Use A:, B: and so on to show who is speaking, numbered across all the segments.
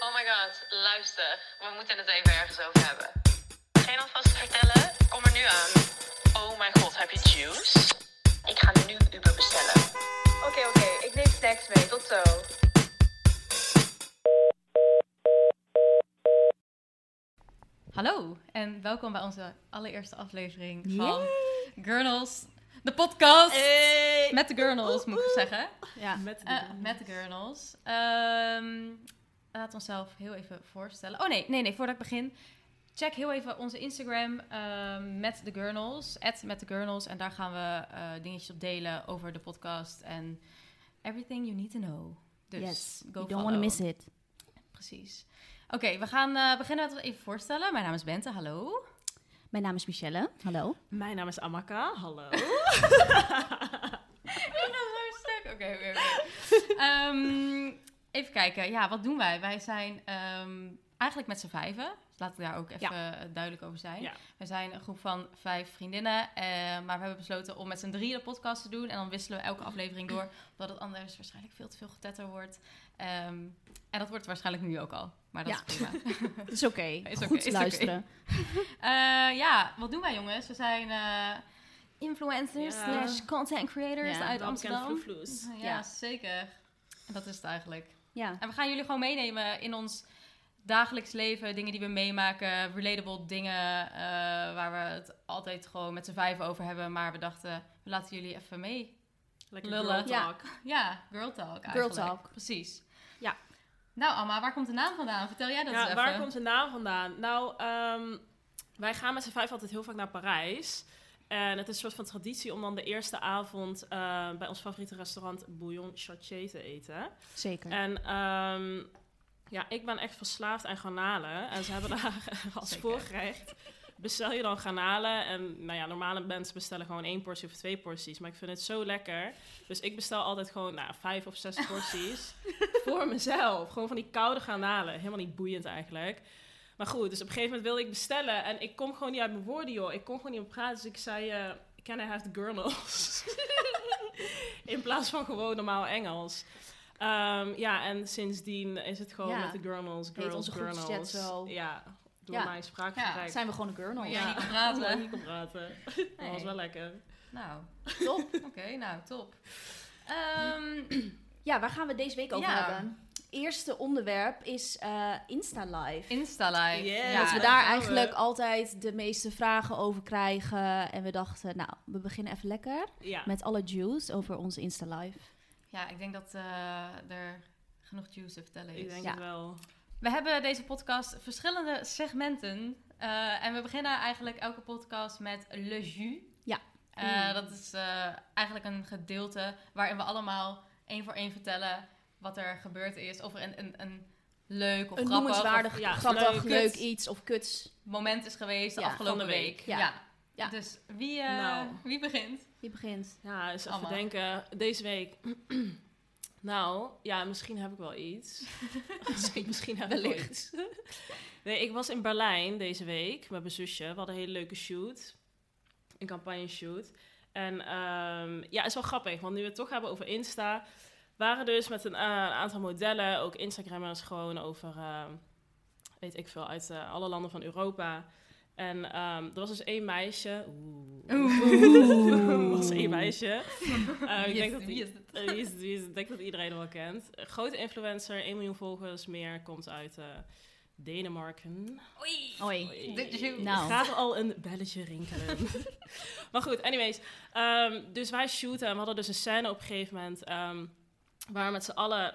A: Oh my god, luister. We moeten het even ergens over hebben. Geen alvast vertellen? Kom er nu aan. Oh my god, heb je juice? Ik ga nu Uber bestellen. Oké, oké. Ik neem snacks mee. Tot zo.
B: Hallo en welkom bij onze allereerste aflevering van Gurnals, de podcast. Met de Gurnals, moet ik zeggen.
C: Ja.
B: Eh, met de Gurnals. Ehm, laat onszelf heel even voorstellen. Oh nee, nee, nee, voordat ik begin. Check heel even onze Instagram ehm, met de Gurnals, met de Gurnals. En daar gaan we eh, dingetjes op delen over de podcast en everything you need to know. Dus
C: yes.
B: go
C: you don't
B: follow.
C: want to miss it.
B: Precies. Oké, we gaan eh, beginnen met even voorstellen. Mijn naam is Bente, hallo.
C: Mijn naam is Michelle. Hallo.
D: Mijn naam is Amaka, hallo.
B: Ik ben zo stuk. Oké, oké, oké. Ehm, even kijken. Ja, wat doen wij? Wij zijn ehm, eigenlijk met z'n vijven. Dus Laat ik daar ook even eh, duidelijk over zijn.
D: Ja.
B: We zijn een groep van vijf vriendinnen. eh, maar we hebben besloten om met z'n drieën de podcast te doen. En dan wisselen we elke aflevering door. Omdat het anders waarschijnlijk veel te veel getetter wordt. Ehm, en dat wordt het waarschijnlijk nu ook al. Maar dat
C: Ja.
B: is prima.
C: Is oké.
B: Is oké,
C: Goed
B: is oké.
C: luisteren.
B: Eh, ja, wat doen wij jongens? We zijn eh, influencers
D: Ja.
B: slash content creators
C: Ja,
B: uit
D: Dan bekend
B: Amsterdam.
D: vloevloes.
B: Ja,
C: Ja.
B: zeker. Dat is het eigenlijk.
C: Ja.
B: En we gaan jullie gewoon meenemen in ons dagelijks leven. Dingen die we meemaken, relatable dingen eh, waar we het altijd gewoon met z'n vijf over hebben. Maar we dachten, we laten jullie even mee.
D: Lekker
B: Lullen.
D: girl talk.
B: Ja, girl talk eigenlijk.
C: talk.
B: Precies.
D: Ja.
B: Nou Alma, waar komt de naam vandaan? Vertel jij dat eens
D: Ja,
B: even.
D: waar komt de naam vandaan? Nou, ehm, wij gaan met z'n vijf altijd heel vaak naar Parijs. En het is een soort van traditie om dan de eerste avond eh, bij ons favoriete restaurant Bouillon Chartier te eten.
C: Zeker.
D: En ehm, ja, ik ben echt verslaafd aan garnalen. En ze hebben daar als
B: Zeker.
D: voorgerecht. Bestel je dan garnalen. En nou ja, normale mensen bestellen gewoon één portie of twee porties. Maar ik vind het zo lekker. Dus ik bestel altijd gewoon nou, vijf of zes porties. voor mezelf. Gewoon van die koude garnalen. Helemaal niet boeiend eigenlijk. Maar goed, dus op een gegeven moment wilde ik bestellen. En ik kom gewoon niet uit mijn woorden, joh. Ik kon gewoon niet op praten. Dus ik zei, eh, can I have the gurnals? In plaats van gewoon normaal Engels. Ehm, ja, en sindsdien is het gewoon
C: Ja.
D: met de gurnals,
C: Heet
D: girls,
C: onze groepschat
D: gurnals.
C: zo.
D: Ja, door
C: Ja.
D: mijn spraakgebruik.
B: Ja,
C: Zijn we gewoon een gurnal?
B: Waar jij
D: Ja.
B: niet kan
D: Omdat ik
B: praten.
D: niet kon praten. Dat was
B: Nee.
D: wel lekker.
B: Nou,
C: Top.
B: oké, nou, top. Ehm,
C: Ja, waar gaan we het deze week over
B: Ja.
C: hebben? Eerste onderwerp is eh, Insta Live.
B: Insta live.
D: Yeah.
C: dat we
D: daar
C: daar
D: gaan
C: eigenlijk
D: we.
C: altijd de meeste vragen over krijgen. En we dachten, nou, we beginnen even lekker
D: Ja.
C: met alle juice over onze Insta Live.
B: Ja, ik denk dat eh, er genoeg juice te vertellen
D: Ik
B: is.
D: denk
C: Ja.
D: het wel.
B: We hebben deze podcast verschillende segmenten. eh, en we beginnen eigenlijk elke podcast met Le Jus.
C: Ja. Mm.
B: Eh, dat is eh, eigenlijk een gedeelte waarin we allemaal één voor één vertellen wat er gebeurd is. Of er een, een, een leuk of
C: een
B: grappig
C: noemenswaardig,
D: of- ja,
C: grappig,
D: leuk.
C: leuk
D: Kut.
C: iets of kuts.
B: moment is geweest de
C: Ja,
B: afgelopen
D: van de
B: week.
D: week.
C: Ja. Ja.
B: Dus wie, eh,
D: Nou.
B: wie begint?
C: Die begint.
D: Ja, dus even
B: Allemaal.
D: denken. Deze week. nou, ja, misschien heb ik wel iets. misschien, misschien heb ik wel
B: Wellicht.
D: iets. nee, ik was in Berlijn deze week met mijn zusje. We hadden een hele leuke shoot. Een campagne shoot. En ehm, ja, het is wel grappig, want nu we het toch hebben over Insta... waren dus met een eh, aantal modellen, ook ehm, Instagrammers, gewoon over... eh, weet ik veel, uit eh, alle landen van Europa... En ehm, er was dus één meisje. Oeh.
B: Oeh.
D: Er was één meisje. Eh,
B: Wie
D: ik
B: is-
D: denk dat
B: wie
D: die-
B: is het?
D: eh, wie is het? Wie is het? Ik denk dat iedereen hem wel kent. Een grote influencer, 1 miljoen volgers meer, komt uit eh, Denemarken.
B: Oei. Oei.
D: Oei.
C: Nou.
D: Het gaat al een belletje rinkelen. maar goed, anyways. ehm, dus wij shooten en we hadden dus een scène op een gegeven moment... ehm, waar we met z'n allen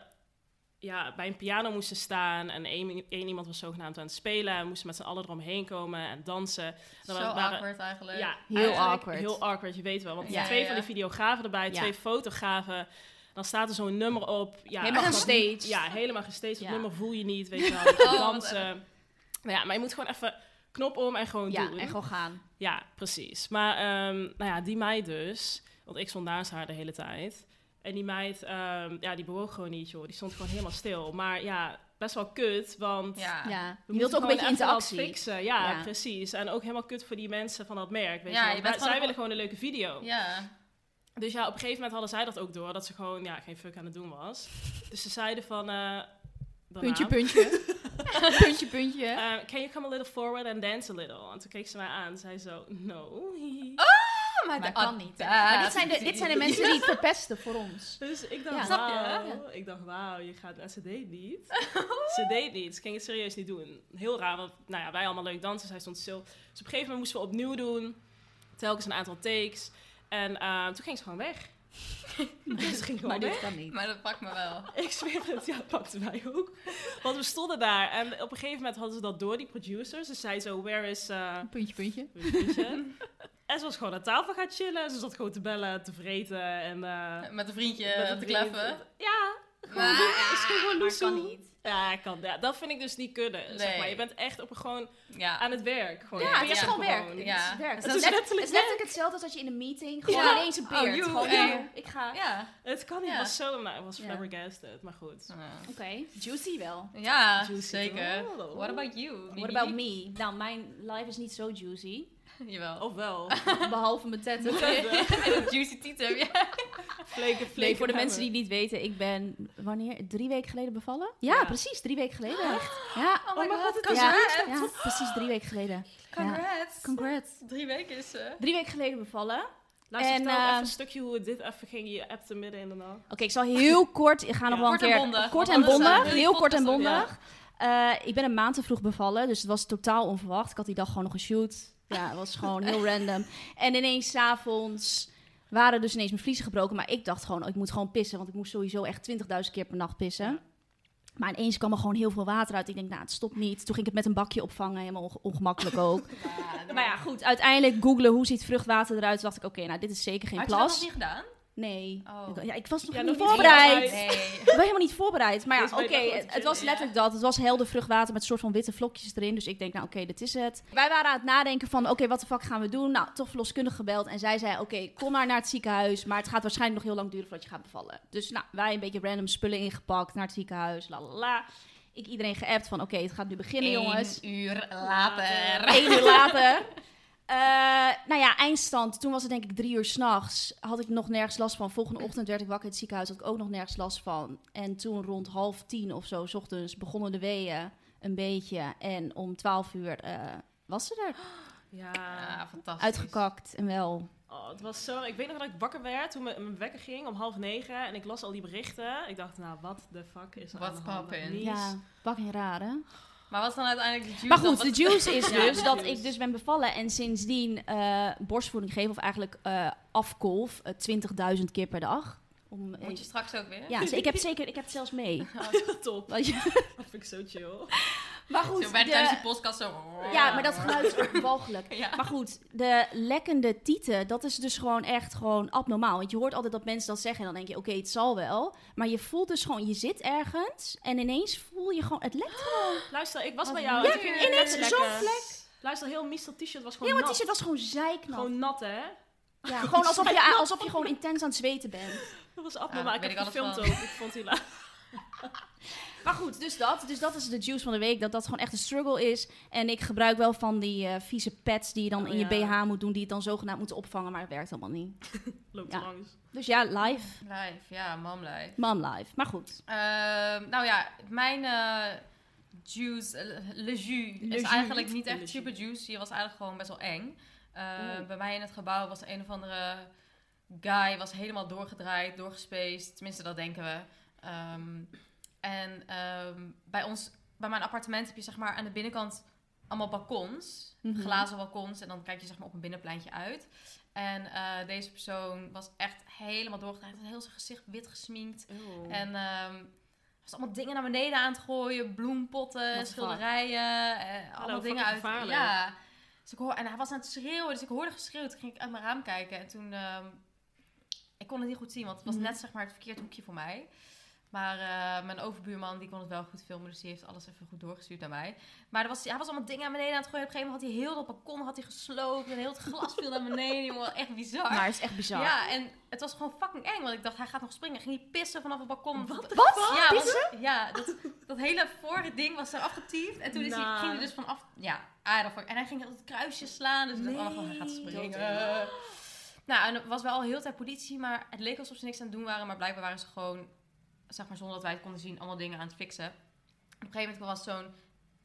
D: ja, bij een piano moesten staan... en één, één iemand was zogenaamd aan het spelen... en we moesten met z'n allen eromheen komen en dansen. En
B: Zo
D: dan waren-
B: awkward eigenlijk.
D: ja,
C: eh, Heel
D: eigenlijk
C: awkward.
D: Heel awkward, je weet wel. Want
B: Ja,
D: twee
B: ja,
D: van
B: ja.
D: die videografen erbij,
C: Ja.
D: twee fotografen. Dan staat er zo'n nummer op. Ja,
C: Helemaal
D: dat-
C: gestaged.
D: Ja, helemaal gestaged. Dat
C: Ja. eh.
D: nummer voel je niet, weet je wel. Je
B: Oh, wat
D: dansen. Nou ja, maar je moet gewoon even knop om en gewoon
C: Ja,
D: doen.
C: en gewoon gaan.
D: Ja, precies. Maar ehm, nou ja, die meid dus, want ik stond naast haar de hele tijd. En die meid, ehm, ja, die bewoog gewoon niet, joh. Die stond gewoon helemaal stil. Maar ja, best wel kut, want
B: Ja.
C: Ja.
B: Ja.
D: we
C: Je wilt
D: moeten
C: ook een beetje
D: gewoon even wat
C: interactie.
D: fixen, ja,
C: Ja.
D: precies. En ook helemaal kut voor die mensen van dat merk, weet
B: Ja,
D: je wel.
B: je bent
D: Maar
B: gewoon
D: zij
B: een-
D: willen gewoon een leuke video.
B: Ja.
D: Dus ja, op een gegeven moment hadden zij dat ook door, dat ze gewoon ja, geen fuck aan het doen was. Dus ze zeiden van... eh, daarna,
C: Puntje, puntje. puntje, puntje.
D: eh, can you come a little forward and dance a little? En toen keek ze mij aan en zei zo, no.
C: Oh, maar
B: maar
C: dat
B: kan
C: kan niet.
B: dat
C: Maar dit, zijn de, dit zijn de
B: niet.
C: mensen die het verpesten voor ons.
D: Dus ik
C: Ja.
D: dacht,
C: Snap
B: je, hè?
D: wauw. Ik dacht, wauw, je gaat... En ze deed niet. ze deed niet. Ze ging het serieus niet doen. Heel raar, want nou ja, wij allemaal leuk dansen. Zij stond stil. Dus op een gegeven moment moesten we opnieuw doen. Telkens een aantal takes. En eh, toen ging ze gewoon weg. Dus ze ging gewoon
C: Maar
D: weg.
C: dit kan niet.
B: Maar dat pakt me wel.
D: Ik zweer het, ja, pakte mij ook. Want we stonden daar. En op een gegeven moment hadden ze dat door, die producers. Ze zei zo, where is... eh,
C: Puntje, puntje.
D: en ze was gewoon aan tafel gaan chillen. Ze zat gewoon te bellen, te vreten. En eh,
B: Met een vriendje
D: met een
B: te
D: vriend.
B: kleffen.
D: Ja,
B: Maar-
D: is gewoon
C: Maar
D: loesoe.
C: kan niet.
D: Ja, ik kan. Ja, dat vind ik dus niet kunnen. Zeg
B: Nee.
D: maar. Je bent echt op, gewoon
B: Ja.
D: aan het werk. Gewoon.
C: Ja, het
D: Je
C: is
D: bent
C: gewoon werk.
B: Ja.
C: Het is werk.
B: Het
C: Het
B: is
C: is net-
D: letterlijk
C: het is letterlijk hetzelfde als dat je in een meeting gewoon
B: Ja.
C: ineens een
B: Oh,
C: beert.
B: joe,
C: Gewoon,
B: ja.
C: joe, ik ga.
B: Ja.
D: Het kan niet.
B: Ja.
D: Het was zo... Nou, ik was
C: Ja.
D: flabbergasted. Maar goed.
C: Oké, juicy wel.
B: Ja,
D: Juicy
B: zeker.
D: toch?
B: What about you?
C: What about me? Nou, mijn life is niet zo juicy. Oh,
B: Jawel.
D: Of wel.
C: Behalve mijn tetten.
B: Juicy tieten heb jij.
D: Fleken,
C: Nee,
D: fleken
C: voor de
D: hammer.
C: mensen die het niet weten, ik ben wanneer? Drie weken geleden bevallen? Ja,
D: Ja.
C: precies, drie weken geleden. Ja,
B: Oh my god, het
C: ja,
B: congrats.
C: ja, precies drie weken geleden.
B: Congrats.
C: Congrats.
B: Drie weken is ze.
C: Drie weken geleden bevallen. Oké,
D: Laat ze
C: En,
D: vertellen even
C: ehm,
D: een stukje hoe het dit even ging. Je appte midden in de nacht.
C: ik zal heel kort, ik ga nog
D: Ja.
C: wel een
B: Kort en
C: keer.
B: bondig,
C: Kort en
B: want anders
C: bondig,
B: dan wil je
C: heel kort en
B: podcast
C: bondig.
D: opnemen.
C: Eh, ik ben een maand te vroeg bevallen, dus het was totaal onverwacht. Ik had die dag gewoon nog een shoot. Ja, het was gewoon heel random. En ineens s'avonds waren dus ineens mijn vliezen gebroken. Maar ik dacht gewoon, oh, ik moet gewoon pissen. Want ik moest sowieso echt 20.000 keer per nacht pissen. Maar ineens kwam er gewoon heel veel water uit. Ik denk, nou, het stopt niet. Toen ging ik het met een bakje opvangen. Helemaal onge- ongemakkelijk ook. maar ja, goed. Uiteindelijk googlen, hoe ziet vruchtwater eruit? Toen dacht ik, oké, nou, dit is zeker geen
B: Had je dat nog
C: plas.
B: niet gedaan?
C: Nee.
B: Oh.
C: Ik- Ja, ik was nog
D: Ja,
C: niet
D: nog niet
C: voorbereid.
D: voorbereid.
C: Ik
D: Nee.
C: was helemaal niet voorbereid. Maar ja,
D: Deze
C: oké,
D: ben je wel goed
C: het, het
D: te
C: was
D: vinden,
C: letterlijk dat. Het was helder vruchtwater met soort van witte vlokjes erin. Dus ik denk, nou oké, dit is het. Wij waren aan het nadenken van, oké, wat de fuck gaan we doen? Nou, toch verloskundige gebeld. En zij zei, oké, kom maar naar het ziekenhuis. Maar het gaat waarschijnlijk nog heel lang duren voordat je gaat bevallen. Dus nou, wij een beetje random spullen ingepakt naar het ziekenhuis, la la la. Ik iedereen geappt van, oké, het gaat nu beginnen, jongens.
B: Eén uur later.
C: Eén uur later. Eh, nou ja, eindstand. Toen was het denk ik drie uur s'nachts. Had ik nog nergens last van. Volgende ochtend werd ik wakker in het ziekenhuis. Had ik ook nog nergens last van. En toen rond half tien of zo, s ochtends, begonnen de weeën een beetje. En om twaalf uur eh, was ze
D: Oh,
C: er.
D: Ja.
B: Ja, Ah, fantastisch.
C: Uitgekakt en wel.
D: Oh, het was zo... Ik weet nog dat ik wakker werd toen mijn mijn wekker ging om half negen. En ik las al die berichten. Ik dacht, nou, wat de fuck is er
B: What's
D: aan de hand?
B: poppin'?
D: Niets.
C: Ja, fucking raar hè?
B: Maar wat is dan uiteindelijk de juice?
C: Maar
B: dan?
C: goed,
B: Wat-
C: de juice is
D: Ja,
C: dus
D: de
C: dat
D: juice.
C: ik dus ben bevallen en sindsdien eh, borstvoeding geef, of eigenlijk eh afkolf, eh, 20.000 keer per dag. Om, eh,
B: Moet je straks ook weer?
C: Ja, ze- ik heb, het zeker, ik heb het zelfs mee.
D: Top.
C: Weet je?
D: Dat vind ik zo chill.
C: Maar
B: Zo
C: goed,
B: bij
C: de-
B: tijdens die podcast zo.
C: ja, maar dat geluid is ook walgelijk.
B: Ja.
C: Maar goed, de lekkende tieten, dat is dus gewoon echt gewoon abnormaal. Want je hoort altijd dat mensen dat zeggen en dan denk je, oké, het zal wel. Maar je voelt dus gewoon, je zit ergens en ineens voel je gewoon, het lekt.
D: Luister, ik was
B: Wat
D: bij jou.
B: lekker.
D: en toen ging het
C: Ineens
D: net
C: zo'n
D: lekker. Luister, heel Mr. t-shirt was gewoon
C: Heel mijn
D: nat.
C: t-shirt was gewoon zeiknat.
D: Gewoon nat, hè?
C: Ja, gewoon alsof je, alsof je gewoon intens aan het zweten bent.
D: Dat was abnormaal.
B: Ja,
D: ik
B: weet
D: heb
B: ik alles
D: gefilmd
B: van.
D: ook. Ik vond die laag.
C: Maar goed, dus dat. Dus dat is de juice van de week. Dat dat gewoon echt een struggle is. En ik gebruik wel van die eh, vieze pads die je dan
D: Oh,
C: in je
D: ja.
C: BH moet doen. Die het dan zogenaamd moeten opvangen. Maar het werkt allemaal niet.
D: Loopt
C: Ja.
D: langs.
C: Dus ja, live.
B: Live, ja, mom live.
C: Mom live. Maar goed.
B: Ehm, nou ja, mijn eh, juice, eh, le jus,
C: Le
B: is
C: jus.
B: eigenlijk niet
D: Le
B: echt
D: jus.
B: super juicy. was eigenlijk gewoon best wel eng. Eh,
C: Oeh.
B: Bij mij in het gebouw was een of andere guy was helemaal doorgedraaid, doorgespaced. Tenminste, dat denken we. Ehm, en ehm, bij ons, bij mijn appartement heb je zeg maar aan de binnenkant allemaal balkons.
C: Mhm.
B: Glazen balkons. En dan kijk je zeg maar op een binnenpleintje uit. En eh, deze persoon was echt helemaal doorgedraaid. Hij had heel zijn gezicht wit gesminkt.
C: Mm.
B: En ehm was allemaal dingen naar beneden aan het gooien. Bloempotten,
C: What the
B: schilderijen. eh, allemaal dingen uit.
D: fucking gevaarlijk.
B: Ja. Dus ik hoor, en hij was aan het schreeuwen. Dus ik hoorde geschreeuw. Toen ging ik uit mijn raam kijken. En toen... ehm, ik kon het niet goed zien. Want het was
C: Mhm.
B: net zeg maar het verkeerd hoekje voor mij. Maar eh, mijn overbuurman die kon het wel goed filmen. Dus die heeft alles even goed doorgestuurd naar mij. Maar er was, hij was allemaal dingen naar beneden aan het gooien. Op een gegeven moment had hij heel dat balkon had hij gesloopt. En heel het glas viel naar beneden. Jongen, echt bizar.
C: Maar het is echt bizar.
B: Ja, en het was gewoon fucking eng, want ik dacht, hij gaat nog springen. Ging hij pissen vanaf het balkon. Wat?
C: fuck?
B: Ja, want, ja dat, dat hele vorige ding was er afgetiefd. En toen is hij,
D: Nou.
B: ging hij dus vanaf... Ja, aardig. En hij ging op het kruisje slaan. Dus ik dacht, oh, hij gaat springen. Nou, en er was wel heel de tijd politie, maar het leek alsof ze niks aan het doen waren. Maar blijkbaar waren ze gewoon, zeg maar, zonder dat wij het konden zien, allemaal dingen aan het fixen. Op een gegeven moment was zo'n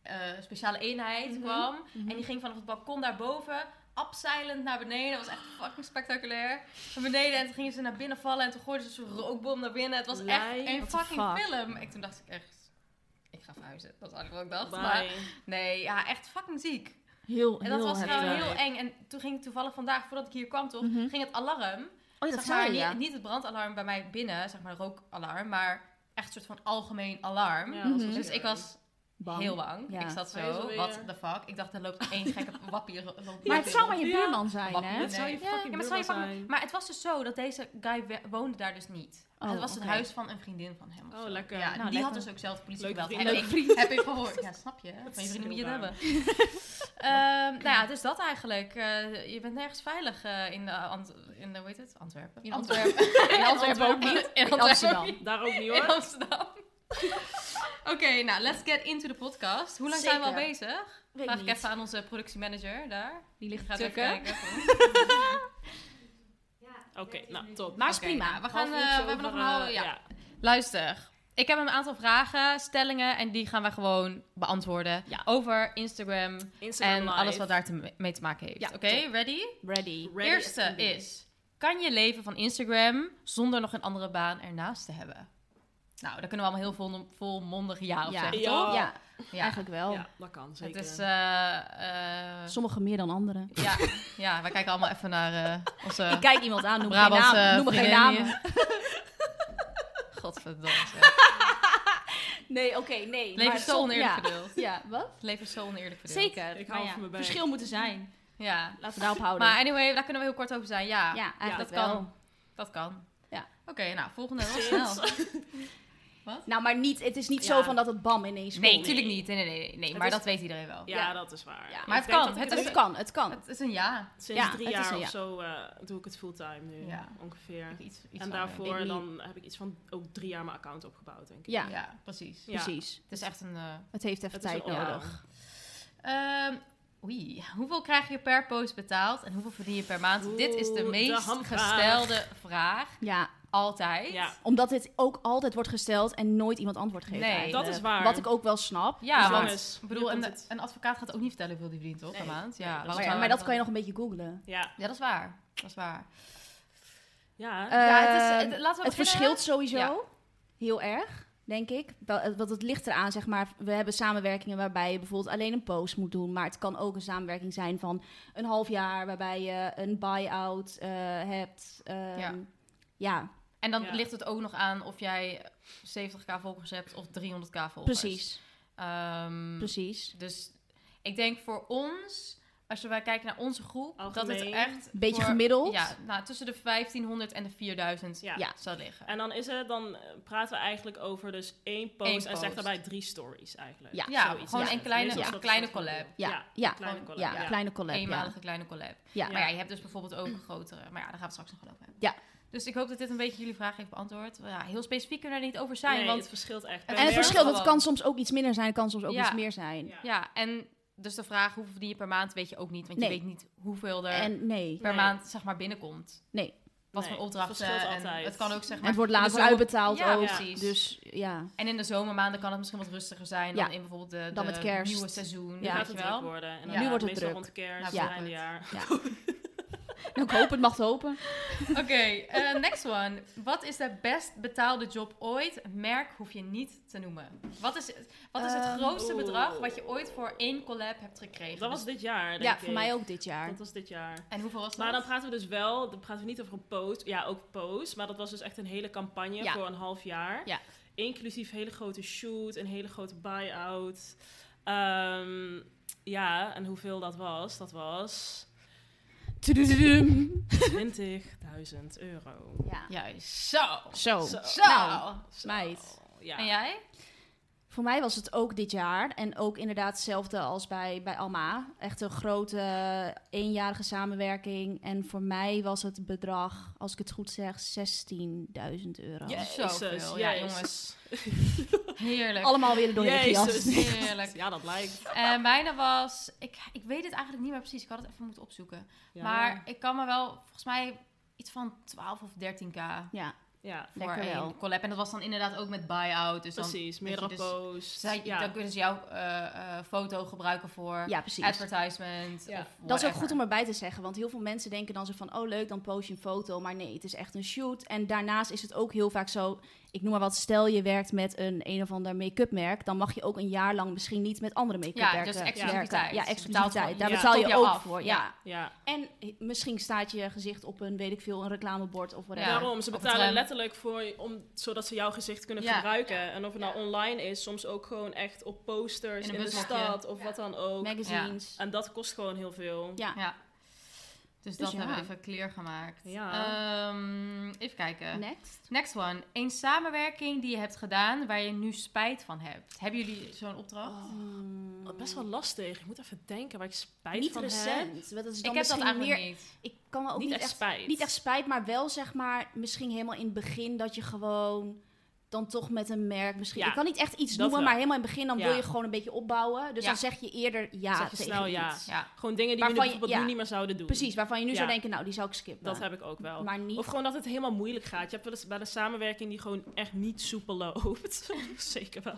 B: eh, speciale eenheid
C: Mhm.
B: kwam. En die ging vanaf het balkon daarboven, abseilend naar beneden. Dat was echt fucking spectaculair. Naar beneden en toen gingen ze naar binnen vallen. En toen gooiden ze zo'n rookbom naar binnen. Het was echt
D: Lijp.
B: een
C: What the
B: fucking
C: fuck?
B: film. En toen dacht ik echt, ik ga verhuizen. Dat is eigenlijk wat ik dacht. Maar
D: Bye.
B: nee, ja, echt fucking ziek.
C: Heel,
B: En dat
C: heel
B: was
C: heftig.
B: gewoon heel eng. En toen ging ik toevallig vandaag, voordat ik hier kwam toch,
C: Mhm.
B: ging het alarm.
C: Oh, ja,
B: Zeg
C: dat
B: maar,
C: zei je, ja.
B: niet, niet het brandalarm bij mij binnen, zeg maar rookalarm, maar echt een soort van algemeen alarm.
D: Ja, dat was
C: Mhm.
D: wel
B: Dus ik
D: scary.
B: was
C: Bang.
B: heel bang.
C: Ja.
B: Ik zat
D: Hij is
B: zo,
D: alweer-
B: what the fuck. Ik dacht, er loopt één gekke wappie. ro- loopt
C: Maar het
B: wappie
C: zou
B: rond.
C: maar je
D: Ja.
C: buurman zijn,
B: Wat-
C: hè?
D: Dat zou je
C: Ja,
B: Ja, maar, het
D: fucking buurman
B: zou je fucking-
D: zijn.
B: maar het was dus zo dat deze guy we- woonde daar dus niet.
C: Oh,
B: het was het
C: oké.
B: huis van een vriendin van hem. of
D: Oh,
B: zo.
D: lekker.
B: Ja,
D: Nou,
B: die
C: lekker.
B: had dus ook zelf de politie
D: Leuke
B: gebeld.
D: vriend.
B: Heb
D: Leuke
B: ik, heb ik gehoord. Ja, snap je. Van je
D: is
B: vrienden moet je het
D: heel
B: hebben. Ehm, nou ja, dus dat eigenlijk. Eh, je bent nergens veilig eh, in, de Ant- in de, hoe heet het? Antwerpen.
C: In
B: Antwerpen. In Antwerpen ook niet. In
C: In
B: Amsterdam.
C: Amsterdam.
D: eh, Daar ook niet
B: In
D: hoor.
B: Amsterdam. Oké, nou, let's get into the podcast. Hoe lang zijn we al
C: Zeker.
B: bezig?
C: Weet
B: Vraag
C: ik
B: ik
C: niet.
B: even aan onze productiemanager daar.
C: Die ligt
B: Die gaat even
C: tukken.
B: kijken.
D: Oké, nou top.
C: Maar is
B: Oké,
C: prima.
B: nou, we gaan,
D: Half
B: eh,
D: uurtje
B: we hebben nog
D: over,
B: een halve,
D: eh,
B: ja. Luister, ik heb een aantal vragen, stellingen en die gaan we gewoon beantwoorden
C: Ja.
B: over Instagram
D: Instagram
B: en alles
D: live.
B: wat daar te mee te maken heeft.
D: Ja,
B: Oké,
D: top.
B: ready?
C: Ready.
D: Ready as
B: Eerste
D: can be.
B: is, kan je leven van Instagram zonder nog een andere baan ernaast te hebben? Nou, daar kunnen we allemaal heel vol, volmondig ja op
C: Ja.
B: zeggen,
D: Ja.
B: toch?
D: Oh.
C: Ja,
B: Ja,
C: eigenlijk wel.
D: Ja, dat kan
B: Oh. Het
D: zeker.
B: is... eh, eh,
C: Sommigen meer dan anderen.
B: ja, ja, wij kijken allemaal even naar eh, onze...
C: Ik kijk iemand aan, noem geen
B: Brabantse
C: naam. Noem geen
B: vriendin
C: naam.
B: Godverdomme. zeg.
C: Nee, oké, nee.
B: Het leven
C: maar
B: is zo
C: som-
B: oneerlijk
C: ja.
B: verdeeld.
C: Ja, wat?
B: Het leven is zo oneerlijk verdeeld.
C: Zeker.
D: Ik
C: maar
D: hou
C: ja,
D: van mijn bek.
C: Verschil moeten zijn.
B: Ja.
C: Laten we daarop houden.
B: Maar anyway, daar kunnen we heel kort over zijn. Ja,
C: ja, eigenlijk
B: dat
C: wel.
B: kan. dat kan.
C: Ja.
B: Oké, nou, volgende wel snel.
C: Nou, maar niet, het is niet
D: Ja.
C: zo van dat het bam ineens
B: Nee,
C: komt.
B: natuurlijk niet. Nee, nee, nee. nee.
D: Het
B: Maar
D: is-
B: dat weet iedereen wel.
D: Ja,
C: Ja.
D: dat is waar.
C: Ja.
D: Ik
B: Maar het
D: denk
B: kan,
D: dat ik
B: het
D: het
B: is-
C: Het kan, het kan.
B: Het is een ja.
D: Sinds
C: Ja,
D: drie
C: het is
D: jaar
C: een
D: of
C: ja.
D: zo eh, doe ik het fulltime nu
B: Ja.
D: ongeveer.
B: Iets, iets
D: en
B: langer.
D: daarvoor
C: Ik niet.
D: dan heb ik iets van ook drie jaar mijn account opgebouwd, denk ik.
C: Ja,
B: Ja, precies.
D: Ja.
C: precies.
B: Het is echt een... eh,
C: Het heeft even
D: Het is
C: tijd
D: een
B: oorlog.
C: nodig.
D: oorlog.
B: ehm, oei. Hoeveel krijg je per post betaald en hoeveel verdien je per maand?
D: Oeh,
B: Dit is de
D: de
B: meest
D: hamvraag.
B: gestelde vraag.
C: Ja,
B: Altijd.
D: Ja.
C: omdat dit ook altijd wordt gesteld en nooit iemand antwoord geeft
B: Nee,
C: eigenlijk.
D: dat is waar.
C: Wat ik ook wel snap.
B: Ja,
D: Dus
B: want
D: jongens,
B: ik
D: hier
B: bedoel,
D: komt
B: een,
D: het.
B: een advocaat gaat ook niet vertellen hoeveel die verdient, toch? Per
D: Nee.
B: maand. Ja,
D: Nee, dat
B: laten
D: is
C: Maar,
B: we
C: ja,
D: waar.
C: maar dat kan je nog een beetje googlen.
D: Ja,
B: Ja, dat is waar. Dat is waar.
D: ja.
B: ja, het, is, het,
C: Ehm,
B: laten we
C: Het
B: beginnen.
C: verschilt sowieso
B: Ja.
C: heel erg, denk ik. Wel, eh, Want het ligt eraan, zeg maar. We hebben samenwerkingen waarbij je bijvoorbeeld alleen een post moet doen. Maar het kan ook een samenwerking zijn van een half jaar... waarbij je een buy-out eh, hebt. Ehm,
B: Ja.
C: ja,
B: En dan
D: Ja.
B: ligt het ook nog aan of jij 70k volgers hebt of 300k volgers.
C: precies.
B: Ehm,
C: Precies.
B: Dus ik denk voor ons, als we kijken naar onze groep, dat het
D: Algemeen.
B: echt...
C: Beetje
B: voor-
C: gemiddeld.
B: Ja, nou, tussen de 1500 en de 4000
D: Ja.
C: Ja.
B: zou liggen.
D: En dan is het, dan eh, praten we eigenlijk over dus één post
B: Eén
D: en
B: post.
D: zeg daarbij drie stories eigenlijk.
C: Ja.
B: Ja,
D: Zoiets
B: gewoon
D: is
B: een
D: het.
B: kleine-
D: Meestal
B: een
D: is dat
B: kleine
D: wat ik
B: collab.
D: bedoel.
C: Ja,
D: Ja,
C: ja.
D: een kleine
B: Ja.
D: collab.
C: Ja,
D: ja.
C: kleine collab.
B: Eenmalige kleine collab.
C: Ja.
B: Maar
C: Ja.
B: ja, je hebt dus bijvoorbeeld ook grotere. Maar ja, daar gaan we straks nog wel over hebben.
C: Ja.
B: Dus ik hoop dat dit een beetje jullie vraag heeft beantwoord. Ja, heel specifiek kunnen we daar niet over zijn.
D: Nee,
B: want
D: het verschilt echt.
B: En
D: Bij
C: En het
D: merken
C: verschil, dat
B: gewoon.
C: kan soms ook iets minder zijn... kan soms ook
B: Ja.
C: iets meer zijn.
D: Ja.
B: Ja, en dus de vraag hoeveel verdien je per maand weet je ook niet. Want je
C: Nee.
B: weet niet hoeveel er
C: En nee,
B: per
D: Nee.
B: maand zeg maar binnenkomt.
C: Nee.
B: wat
D: Nee,
B: voor
D: het
B: opdrachten.
D: verschilt
B: en
D: altijd.
B: Het kan ook zeg maar.
C: En het wordt
B: in de
C: later
B: zomer-
C: uitbetaald
B: Ja,
C: ook.
B: precies.
C: Dus ja.
B: En in de zomermaanden kan het misschien wat rustiger zijn
C: Ja.
B: dan in bijvoorbeeld de,
C: Dan
B: de
C: met kerst.
B: nieuwe seizoen.
C: Ja.
D: Ja,
B: weet
D: gaat
B: je
D: het
B: wel.
D: druk worden. En
B: Nu
D: dan
C: wordt het
D: meestal
C: druk.
D: rond kerst,
B: Ja.
D: einde jaar.
C: ja. Nou, ik hoop het, mag het hopen.
B: Oké, eh, next one. Wat is de best betaalde job ooit? Merk hoef je niet te noemen. Wat is het, wat is het
C: Ehm,
B: grootste
D: oeh.
B: bedrag wat je ooit voor één collab hebt gekregen?
D: oh. Dat was
B: Dus-
D: dit jaar, denk
C: Ja,
D: ik.
C: voor mij ook dit jaar.
D: Dat was dit jaar.
B: en hoeveel was dat?
D: Maar dan praten we dus wel, dan praten we niet over een post. Ja, ook post. Maar dat was dus echt een hele campagne
C: Ja.
D: voor een half jaar.
C: Ja.
D: Inclusief hele grote shoot, een hele grote buy-out. Ehm, ja, en hoeveel dat was? Dat was 20.000 euro.
C: Ja.
B: Juist. Zo.
C: Zo.
D: Zo.
B: Zo.
C: Nou,
D: Zo,
C: meid.
D: Ja.
B: En jij?
C: Voor mij was het ook dit jaar. En ook inderdaad hetzelfde als bij, bij Alma. Echt een grote eenjarige samenwerking. En voor mij was het bedrag, als ik het goed zeg, 16.000 euro.
B: Ja.
D: Jezus,
B: Zoveel, ja,
D: jezus.
B: Heerlijk.
C: Allemaal weer door je jas.
D: Jezus.
B: Heerlijk.
D: Ja, dat lijkt.
B: En mijne was... Ik, ik weet het eigenlijk niet meer precies. Ik had het even moeten opzoeken.
D: Ja.
B: Maar ik kan me wel... Volgens mij iets van 12 of 13k.
C: Ja,
D: Ja,
B: Voor
C: Lekker
B: één
C: wel.
B: collab. En dat was dan inderdaad ook met buy-out. Dus dan
D: precies.
B: weet je,
D: Meerdere
B: dus-
D: posts.
B: Zij,
D: ja.
B: Dan kunnen ze jouw eh, eh, foto gebruiken voor
C: ja precies.
B: advertisement.
D: Ja.
B: Of
C: Dat is ook
B: whatever.
C: goed om erbij te zeggen, want heel veel mensen denken dan zo van, oh leuk, dan post je een foto, maar nee, het is echt een shoot. En daarnaast is het ook heel vaak zo, ik noem maar wat, stel je werkt met een een of ander make-up merk, dan mag je ook een jaar lang misschien niet met andere make-up
B: Ja,
C: merken
B: dus
C: werken.
B: exclusiviteit.
C: Ja,
B: Je betaalt
C: exclusiviteit.
B: voor-
C: Daar
D: ja.
C: betaal je
B: Top jou
C: ook
B: af.
C: voor. Ja.
B: Ja.
D: ja.
C: En eh, misschien staat je gezicht op een, weet ik veel, een reclamebord of whatever.
B: Ja.
D: Daarom, ze
B: Op het
D: betalen
B: tram.
D: letterlijk voor, om, zodat ze jouw gezicht kunnen
B: Ja.
D: gebruiken. En of het nou online is, soms ook gewoon echt op posters
B: In
D: in,
B: een
D: de
B: busmokje.
D: stad of wat dan ook.
C: Magazines.
D: En dat kost gewoon heel veel.
C: Ja.
B: Ja. Dus, dat
C: ja.
B: hebben we even clear gemaakt.
D: Ja.
B: Ehm, even kijken.
C: Next.
B: Next one. Een samenwerking die je hebt gedaan waar je nu spijt van hebt. Hebben jullie zo'n opdracht?
C: Hmm.
D: Oh. Best wel lastig. Ik moet even denken waar ik spijt
C: Niet
D: van heb.
C: recent. want Dat is dan
B: ik heb dat
C: misschien
B: eigenlijk
C: meer
B: niet.
C: ik kan me ook
D: Niet
C: niet,
D: echt spijt.
C: Niet echt spijt, maar wel zeg maar misschien helemaal in het begin dat je gewoon dan toch met een merk misschien.
D: Ja,
C: ik kan niet echt iets
D: dat
C: noemen,
D: wel.
C: maar helemaal in het begin dan
D: Ja.
C: wil je gewoon een beetje opbouwen. Dus
B: Ja.
C: dan zeg je eerder ja
D: Zeg je
C: tegen
D: snel
C: iets.
D: ja.
B: Ja.
D: Gewoon dingen die we nu
C: Waarvan je-
D: bijvoorbeeld
C: ja.
D: nu niet meer zouden doen.
C: Precies, waarvan je nu
D: Ja.
C: zou denken, nou die zou ik skippen.
D: Dat heb ik ook wel.
C: Maar niet.
D: Of gewoon dat het helemaal moeilijk gaat. Je hebt wel eens bij een samenwerking die gewoon echt niet soepel loopt. Zeker wel.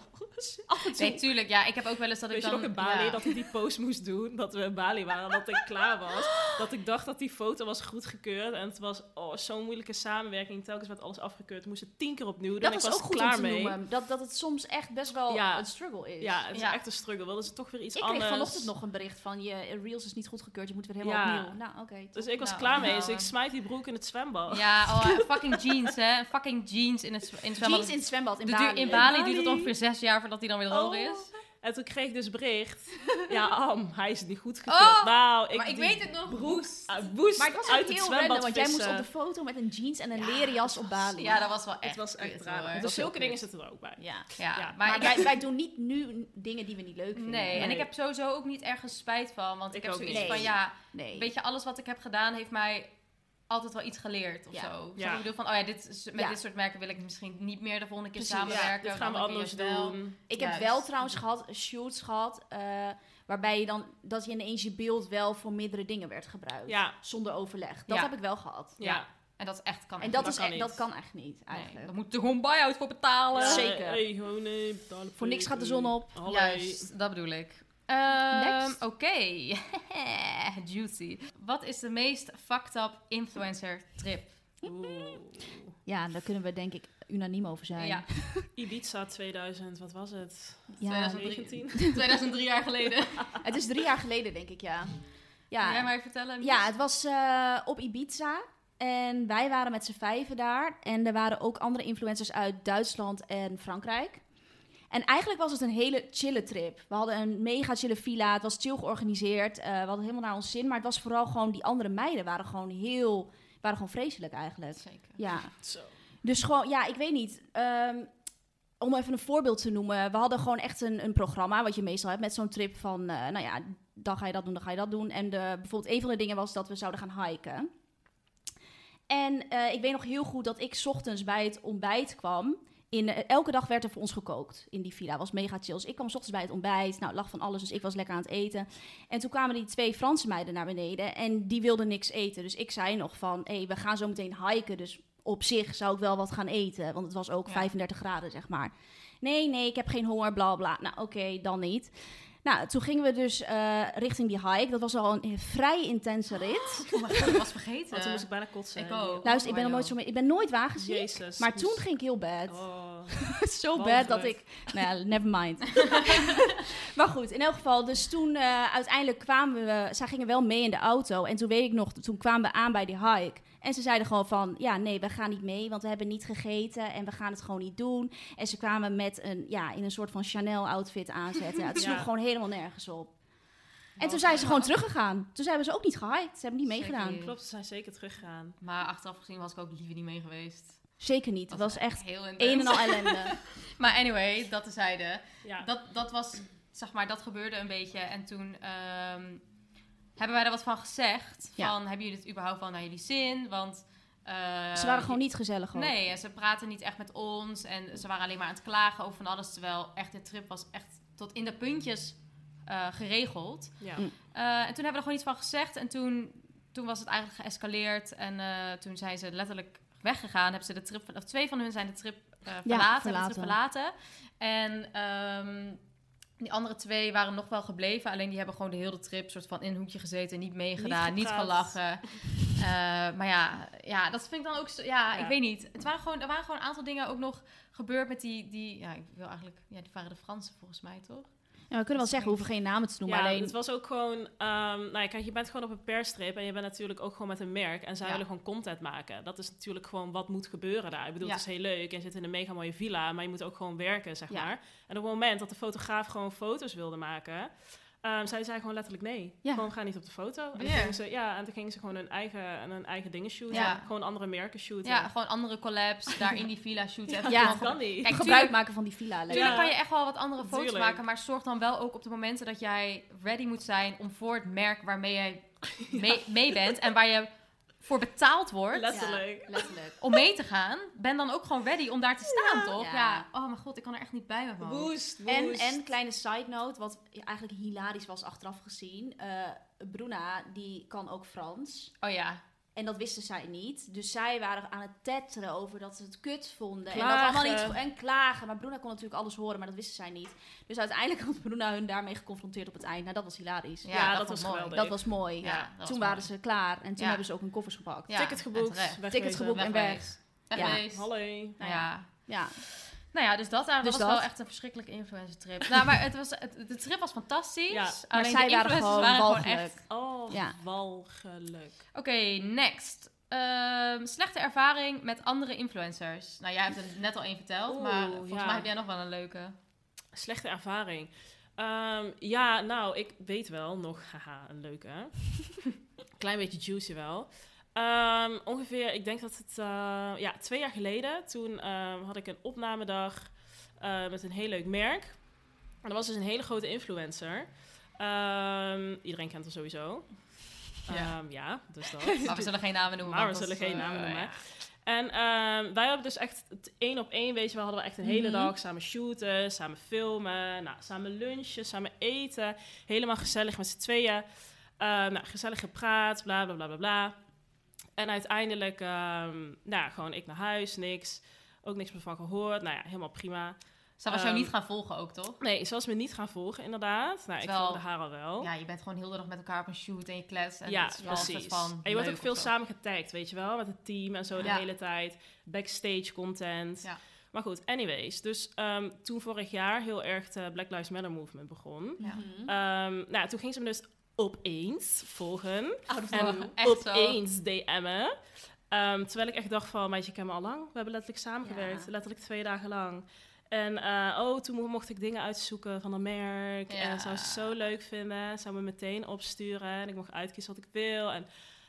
D: Af en toe.
B: Nee, tuurlijk. Ja, ik heb ook wel eens dat
D: Weet
B: ik
D: je
B: dan...
D: nog in Bali
B: ja.
D: dat ik die post moest doen? Dat we in Bali waren en dat ik klaar was. Dat ik dacht dat die foto was goedgekeurd. En het was oh, zo'n moeilijke samenwerking. Telkens werd alles afgekeurd. Moest het tien keer opnieuw doen.
C: dat
D: ik
C: is
D: was
C: ook goed
D: klaar
C: om te
D: mee.
C: noemen. Dat, dat het soms echt best wel
D: Ja.
C: een struggle is.
D: Ja, het is
B: Ja.
D: echt een struggle. Wilden ze toch weer iets
C: Ik kreeg
D: anders.
C: vanochtend nog een bericht van je reels is niet goedgekeurd, je moet weer helemaal
D: Ja.
C: opnieuw. Nou, oké. top.
D: Dus ik was
B: Nou,
D: klaar mee.
B: nou,
D: Dus ik
B: eh.
D: smijt die broek in het zwembad.
B: Ja, oh, fucking jeans, hè. Fucking jeans in het, in het zwembad.
C: Jeans in het zwembad in
B: De duur-
C: Bali.
B: in Bali duurt het
D: Bali.
B: ongeveer zes jaar voordat hij dan weer droog
D: Oh.
B: is.
D: En toen kreeg ik dus bericht. Ja, Am, hij is niet goedgekeurd.
B: Oh,
D: nou, ik,
B: maar ik
D: die
B: weet het nog. Roest.
D: Ah, woest
C: Maar het was
D: uit
C: ook
D: het
C: heel
D: zwembad
C: random, want jij moest
D: vissen.
C: op de foto met een jeans en een leren jas op Bali.
B: Ja, dat was wel echt
D: Het was echt
B: kut,
D: raar.
B: hoor.
D: Dus
C: was heel
D: zulke dingen
C: kut.
D: zitten er ook bij.
C: Ja.
B: Ja,
D: Ja,
B: maar,
C: Maar
B: ik
C: wij, wij doen niet nu dingen die we niet leuk vinden.
B: Nee, en
D: Nee.
B: ik heb sowieso ook niet ergens spijt van. Want ik,
D: Ik
B: heb
D: ook
B: zoiets
C: niet.
B: van,
C: Nee.
B: ja,
C: Nee.
B: weet je, alles wat ik heb gedaan heeft mij altijd wel iets geleerd of
C: Ja.
B: zo. Snap je wat
D: Ja.
B: Ik bedoel van, oh ja, dit, is- met
C: Ja.
B: dit soort merken wil ik misschien niet meer de volgende keer
C: Precies.
D: Ja,
B: samenwerken.
D: dit gaan we
B: want dan
D: anders
B: kun je het dus wel.
D: doen.
C: ik heb
B: Juist.
C: wel trouwens gehad, shoots gehad, eh, waarbij je dan, dat je ineens je beeld wel voor meerdere dingen werd gebruikt.
D: Ja.
C: Zonder overleg. Dat
B: Ja.
C: heb ik wel gehad.
D: Ja.
B: Ja. En dat is echt kan
C: En
B: echt
C: dat,
D: Dat
C: is
D: kan
C: echt,
D: niet.
C: dat kan echt niet,
B: niet. Nee,
C: eigenlijk.
B: Daar moet er gewoon buy-out voor betalen.
D: Ja,
C: Zeker.
D: Eh, hey, gewoon, nee, betalen
C: Voor niks gaat de zon op.
D: Hallo.
B: Juist, dat bedoel ik. Ehm,
C: Next.
B: Oké, juicy. Wat is de meest fucked up influencer trip?
D: Oeh.
C: Ja, daar kunnen we denk ik unaniem over zijn.
B: Ja,
D: Ibiza 2000, wat was het?
C: Ja.
D: 19?
B: 2003 jaar geleden.
C: Het is drie jaar geleden, denk ik, ja.
B: Wil
C: Ja,
B: jij mij vertellen?
C: Ja, het was eh, op Ibiza. En wij waren met z'n vijven daar. En er waren ook andere influencers uit Duitsland en Frankrijk. En eigenlijk was het een hele chille trip. We hadden een mega chille villa. Het was chill georganiseerd. eh, we hadden helemaal naar ons zin. Maar het was vooral gewoon... Die andere meiden waren gewoon heel... Waren gewoon vreselijk eigenlijk.
B: Zeker.
C: Ja.
D: Zo.
C: Dus gewoon, ja, ik weet niet. Ehm, om even een voorbeeld te noemen. We hadden gewoon echt een, een programma, wat je meestal hebt, met zo'n trip van, eh, nou ja, dan ga je dat doen, dan ga je dat doen. En de, bijvoorbeeld een van de dingen was dat we zouden gaan hiken. En eh, ik weet nog heel goed dat ik 's ochtends bij het ontbijt kwam in, eh, elke dag werd er voor ons gekookt in die villa. Was mega chill. Dus ik kwam 's ochtends bij het ontbijt. Nou, het lag van alles. Dus ik was lekker aan het eten. En toen kwamen die twee Franse meiden naar beneden. En die wilden niks eten. Dus ik zei nog van, hé, hey, we gaan zo meteen hiken. Dus op zich zou ik wel wat gaan eten. Want het was ook
B: Ja.
C: 35 graden, zeg maar. Nee, nee, ik heb geen honger, bla bla. Nou, oké, dan niet. Nou, toen gingen we dus eh, richting die hike. Dat was al een vrij intense rit.
B: Oh mijn god, ik was vergeten.
D: Want toen moest ik bijna kotsen.
B: Ik ook.
C: Luister, ik
B: Oh
C: ben nog
B: my
C: nooit
B: god.
C: zo mee. Ik ben nooit wagenziek.
D: Jezus.
C: Maar toen
D: moest-
C: ging ik heel bad.
D: Oh.
C: zo
D: Wat
C: bad dat
D: gebeurt?
C: ik. Nou, ja, never mind. maar goed, in elk geval. Dus toen eh, uiteindelijk kwamen we. Zij gingen wel mee in de auto. En toen weet ik nog, toen kwamen we aan bij die hike. En ze zeiden gewoon van, ja, nee, we gaan niet mee, want we hebben niet gegeten en we gaan het gewoon niet doen. En ze kwamen met een, ja, in een soort van Chanel-outfit aanzetten. Ja, het sloeg
D: Ja.
C: gewoon helemaal nergens op. En toen zijn ze gewoon teruggegaan. Toen hebben ze ook niet gehiked. Ze hebben niet
B: Zeker
C: meegedaan.
B: niet.
D: Klopt, ze zijn zeker teruggegaan.
B: Maar achteraf gezien was ik ook liever niet mee geweest.
C: Zeker niet. Het was echt
B: heel
C: een en
B: intens.
C: al ellende.
B: Maar anyway, dat tezijde.
D: Ja.
B: Dat, dat was, zeg maar, dat gebeurde een beetje. En toen ehm, hebben wij er wat van gezegd.
C: Ja.
B: Van, hebben jullie het überhaupt wel naar jullie zin? Want... eh,
C: Ze waren gewoon niet gezellig. ook.
B: Nee, en ze praten niet echt met ons. En ze waren alleen maar aan het klagen over van alles. Terwijl echt de trip was echt tot in de puntjes eh, geregeld.
D: Ja.
C: Mm.
B: Eh, en toen hebben we er gewoon iets van gezegd. En toen, toen was het eigenlijk geëscaleerd. En eh, toen zijn ze letterlijk weggegaan. Hebben ze de trip, of twee van hun zijn de trip eh, verlaten, hebben de trip verlaten. En ehm, die andere twee waren nog wel gebleven. Alleen die hebben gewoon de hele trip soort van in een hoekje gezeten. Niet meegedaan,
D: Niet
B: niet,
D: gepraat.
B: gelachen. Eh, maar ja, ja, dat vind ik dan ook... Zo, ja,
D: Ja.
B: ik weet niet. Het waren gewoon, er waren gewoon een aantal dingen ook nog gebeurd met die... die ja, ik wil eigenlijk... Ja, die waren de Fransen volgens mij, toch?
C: Ja, we kunnen wel zeggen, we hoeven geen namen te noemen.
D: Ja,
C: alleen,
D: het was ook gewoon... ehm, nou ja, kijk, je bent gewoon op een perstrip en je bent natuurlijk ook gewoon met een merk. En zij
B: Ja.
D: willen gewoon content maken. Dat is natuurlijk gewoon wat moet gebeuren daar. Ik bedoel,
B: Ja.
D: het is heel leuk. Je zit in een mega mooie villa, maar je moet ook gewoon werken, zeg
B: Ja.
D: maar. En op het moment dat de fotograaf gewoon foto's wilde maken... ehm zij zei gewoon letterlijk nee.
C: Ja.
D: Gewoon ga niet op de foto. En,
B: Weer.
D: toen gingen ze, ja, en toen gingen ze gewoon hun eigen, hun eigen dingen shooten.
B: Ja.
D: Gewoon andere merken shooten.
B: Ja, gewoon andere collabs daar in die villa shooten. Even
C: Ja.
B: gewoon
D: dat kan niet.
B: Kijk,
C: gebruik
B: tuurlijk-
C: maken van die villa. alleen.
B: Tuurlijk
D: Ja.
B: kan je echt wel wat andere foto's
D: Tuurlijk.
B: maken, maar zorg dan wel ook op de momenten dat jij ready moet zijn om voor het merk waarmee jij mee, mee bent en waar je voor betaald wordt
D: Letterlijk.
C: Ja, letterlijk.
B: om mee te gaan, ben dan ook gewoon ready om daar te staan, toch?
C: Ja.
B: Ja. Oh mijn god, ik kan er echt niet bij met mijn hoofd.
D: Woest,
C: En,
D: woest.
C: en kleine side note, wat eigenlijk hilarisch was achteraf gezien. eh, Bruna, die kan ook Frans.
B: Oh ja.
C: En dat wisten zij niet. Dus zij waren aan het tetteren over dat ze het kut vonden. En, dat
D: Klagen.
C: allemaal niet, en klagen. Maar Bruna kon natuurlijk alles horen, maar dat wisten zij niet. Dus uiteindelijk had Bruna hun daarmee geconfronteerd op het eind. Nou, dat was hilarisch.
B: Ja,
D: Ja,
B: dat
D: dat
B: vond
D: was
B: ik mooi.
D: geweldig.
C: Dat was mooi.
B: Ja, dat was
C: toen
B: mooi.
C: waren ze klaar. En toen
B: Ja.
C: hebben ze ook hun koffers gepakt.
B: Ja,
D: Ticket
B: en
D: geboekt.
B: terecht.
D: wegwezen.
C: Ticket geboekt. en
B: Wegwezen.
C: Ja.
B: Wegwezen.
D: Hallo.
B: Nou ja.
C: Ja.
B: Nou ja, dus dat, daar
C: Dus
B: was
C: dat.
B: wel echt een verschrikkelijke influencer trip. nou, maar het was, het, de trip was fantastisch.
D: Ja,
C: Maar
B: Alleen
C: zij
B: de
C: waren
B: influencers
C: gewoon
B: waren gewoon
C: walgelijk.
B: echt
D: Oh,
C: Ja.
D: walgelijk.
B: Oké, next. Ehm, slechte ervaring met andere influencers. Nou, jij hebt er net al één verteld,
D: Oeh,
B: maar volgens
D: ja.
B: mij heb jij nog wel een leuke.
D: Slechte ervaring. Ehm, ja, nou, ik weet wel nog, haha, een leuke. Klein beetje juicy wel. Ehm, ongeveer, ik denk dat het, eh, ja, twee jaar geleden, toen ehm, had ik een opnamedag eh, met een heel leuk merk. En dat was dus een hele grote influencer. Ehm, iedereen kent haar sowieso.
B: Ja.
D: Ehm, ja, dus dat.
B: Maar we zullen geen namen noemen.
D: Maar
B: want
D: we
B: dat
D: zullen
B: is,
D: geen
B: eh,
D: namen noemen.
B: ja.
D: En ehm, wij hebben dus echt het één op één, weet je, we hadden we echt een hele
C: Mhm.
D: dag samen shooten, samen filmen, nou, samen lunchen, samen eten. Helemaal gezellig met z'n tweeën. Ehm, nou, gezellig gepraat, bla bla bla bla bla. En uiteindelijk, ehm, nou, ja, gewoon ik naar huis, niks. Ook niks meer van gehoord. Nou ja, helemaal prima.
B: Zij was jou
D: Ehm,
B: niet gaan volgen ook, toch?
D: Nee, ze was me niet gaan volgen, inderdaad. Nou,
B: Terwijl-
D: ik volgde haar al wel.
B: Ja, je bent gewoon heel de dag met elkaar op een shoot en je klets. En
D: ja,
B: het is wel een soort
D: precies.
B: Van
D: en je wordt ook
B: leuk
D: veel
B: of zo.
D: samen getagd, weet je wel, met het team en zo de
B: Ja.
D: hele tijd. Backstage content.
B: Ja.
D: Maar goed, anyways. Dus ehm, toen vorig jaar heel erg de Black Lives Matter movement begon.
B: Ja.
C: Mhm.
D: Ehm, nou, toen ging ze me dus opeens volgen.
B: Out of
D: En
B: blue. Echt zo.
D: opeens DM'en. Ehm, terwijl ik echt dacht van, meisje, ik ken me al lang. We hebben letterlijk samengewerkt.
C: Ja.
D: Letterlijk twee dagen lang. En eh, oh, toen mo- mocht ik dingen uitzoeken van een merk.
B: Ja.
D: En dat zou ze zo leuk vinden. Zou me meteen opsturen. En ik mocht uitkiezen wat ik wil. En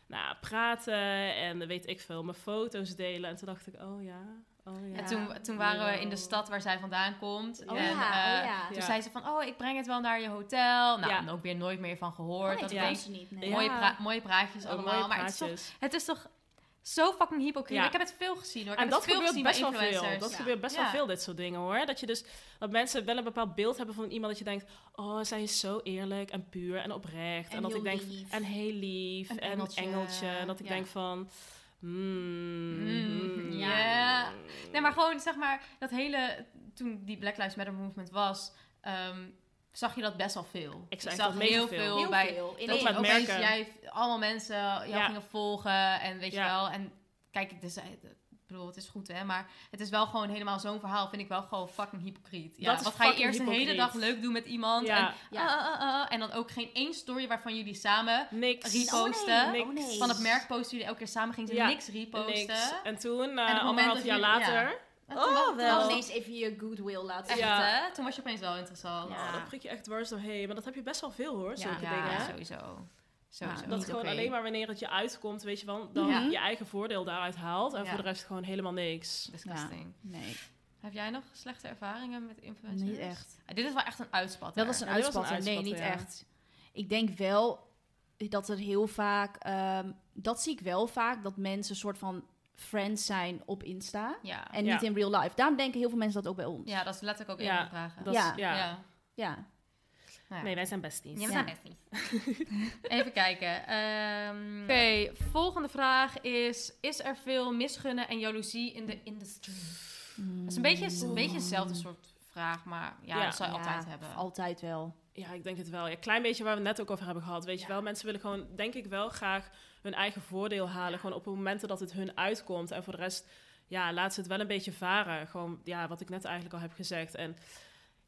D: nou, praten. En weet ik veel, mijn foto's delen. En toen dacht ik, oh ja, oh ja.
B: En toen, toen waren we in de stad waar zij vandaan komt.
D: Oh
B: en,
D: ja,
B: eh,
C: oh ja.
B: Toen
D: Ja.
B: zei ze van, oh, ik breng het wel naar je hotel. Nou,
D: Ja.
B: en ook weer nooit meer van
C: Oh,
B: gehoord.
C: nee,
B: dat
C: dat
B: ik
D: ja.
C: kan
B: denk,
C: ze niet. nee.
D: Ja.
B: mooie, pra- mooie praatjes
D: Ook
B: allemaal.
D: mooie
B: maar het is toch
D: praatjes.
B: Het is toch Zo fucking hypocriet.
D: Ja.
B: Ik heb het veel gezien hoor. Ik
D: En
B: heb het
D: dat gebeurt
B: gezien bij
D: best wel veel.
B: influencers.
D: Dat
C: Ja.
D: gebeurt best wel
B: Ja.
D: veel, dit soort dingen hoor. Dat je dus dat mensen wel een bepaald beeld hebben van iemand dat je denkt, oh, zij is zo eerlijk en puur en oprecht.
C: En
D: En, dat
C: heel
D: ik denk,
C: lief.
D: en heel lief
B: Een
D: en
B: engeltje.
D: engeltje. En dat ik
B: Ja.
D: denk van. mm,
B: Mm,
D: mm,
B: ja.
D: mm.
B: Nee, maar gewoon zeg maar dat hele. Toen die Black Lives Matter movement was, ehm, zag je dat best wel veel.
D: Ik zag dat mega veel.
C: Heel
B: bij.
C: veel.
B: dat
C: ineens.
D: met
B: opeens
D: merken.
B: jij allemaal mensen jou
D: Ja.
B: gingen volgen en weet je
D: Ja.
B: wel. En kijk, het is, ik bedoel, het is goed hè, maar het is wel gewoon helemaal zo'n verhaal. Vind ik wel gewoon fucking hypocriet. Ja,
D: Dat is
B: wat ga je
D: fucking
B: eerst de hele
D: hypocriet.
B: dag leuk doen met iemand
D: Ja.
B: en,
C: Ja.
B: ah, ah, ah, ah, en dan ook geen één story waarvan jullie samen
D: Niks.
B: Repost. posten.
D: Niks.
B: van het merk posten jullie elke keer samen gingen ze
D: Ja.
B: niks reposten.
D: Niks. En toen, eh,
B: het moment
D: anderhalf
B: dat
D: jaar
B: jullie- ja.
D: later.
B: En toen
D: Oh,
B: was- toen
D: wel.
B: was
C: Dan
B: het
C: ineens even je goodwill laten
B: Echt,
C: zien.
D: Ja.
B: hè? Toen was je opeens wel interessant.
C: Ja.
D: Oh, dat prik je echt dwars doorheen. Maar dat heb je best wel veel hoor, zulke
B: ja,
D: dingen. hè?
B: sowieso. Sowieso.
D: Dat
B: niet
D: gewoon
B: oké.
D: alleen maar wanneer het je uitkomt, weet je wel, dan
C: Ja.
D: je eigen voordeel daaruit haalt. En
B: Ja.
D: voor de rest gewoon helemaal niks.
B: Disgusting.
C: Nee,
B: Heb jij nog slechte ervaringen met influencers?
C: niet echt.
B: Ah, dit is wel echt een uitspat.
C: Dat was een
D: Ja, dit was een
C: uitspatter. Nee, niet
D: uitspatter, ja.
C: echt. Ik denk wel dat er heel vaak... ehm, dat zie ik wel vaak, dat mensen een soort van friends zijn op Insta.
B: Ja.
C: En
D: Ja.
C: niet in real life. Daarom denken heel veel mensen dat ook bij ons.
B: ja, dat is letterlijk ook
D: Ja,
B: één van de vragen.
D: Dat is- ja.
B: ja.
C: Ja.
B: Nou ja.
D: Nee, wij zijn besties.
B: Ja, we
C: Ja.
B: zijn besties. Even kijken. ehm, Oké, volgende vraag is... Is er veel misgunnen en jaloezie in de industry?
C: Mm,
B: Dat is een beetje, een beetje hetzelfde soort vraag, maar ja,
D: Ja.
B: dat zou je
C: Ja,
B: altijd hebben.
C: Altijd wel.
D: Ja, ik denk het wel. Ja, klein beetje waar we het net ook over hebben gehad. Weet je wel, mensen willen gewoon, denk ik wel, graag hun eigen voordeel halen. Gewoon op de momenten dat het hun uitkomt. En voor de rest, ja, laat ze het wel een beetje varen. Gewoon, ja, wat ik net eigenlijk al heb gezegd. En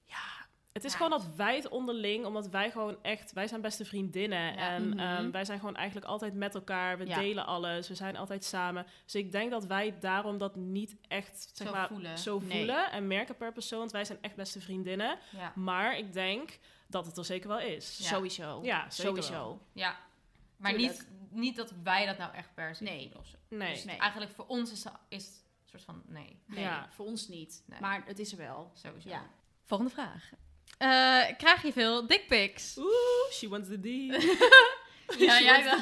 D: ja, het is
B: Ja.
D: gewoon dat wij het onderling, omdat wij gewoon echt, wij zijn beste vriendinnen.
B: Ja.
D: En
C: Mhm.
D: ehm, wij zijn gewoon eigenlijk altijd met elkaar. We
B: Ja.
D: delen alles. We zijn altijd samen. Dus ik denk dat wij daarom dat niet echt, zeg
B: Zo
D: maar,
B: voelen.
D: zo
C: Nee.
D: voelen. En merken per persoon, want wij zijn echt beste vriendinnen.
B: Ja.
D: Maar ik denk dat het er zeker wel is.
B: Ja.
C: Sowieso.
D: Ja, zeker
C: Sowieso.
D: wel.
B: ja. Maar niet, niet dat wij dat nou echt per se
C: Nee.
B: doen of zo.
D: Nee.
B: Dus
C: Nee.
B: eigenlijk voor ons is, is het een soort van nee,
C: Nee,
D: Ja.
C: voor ons niet.
B: Nee.
C: Maar het is er wel.
B: sowieso.
C: Ja. Eh,
B: Volgende vraag. krijg je veel dickpics?
D: Oeh, she wants the D.
B: Ja,
D: She
B: jij
D: wants the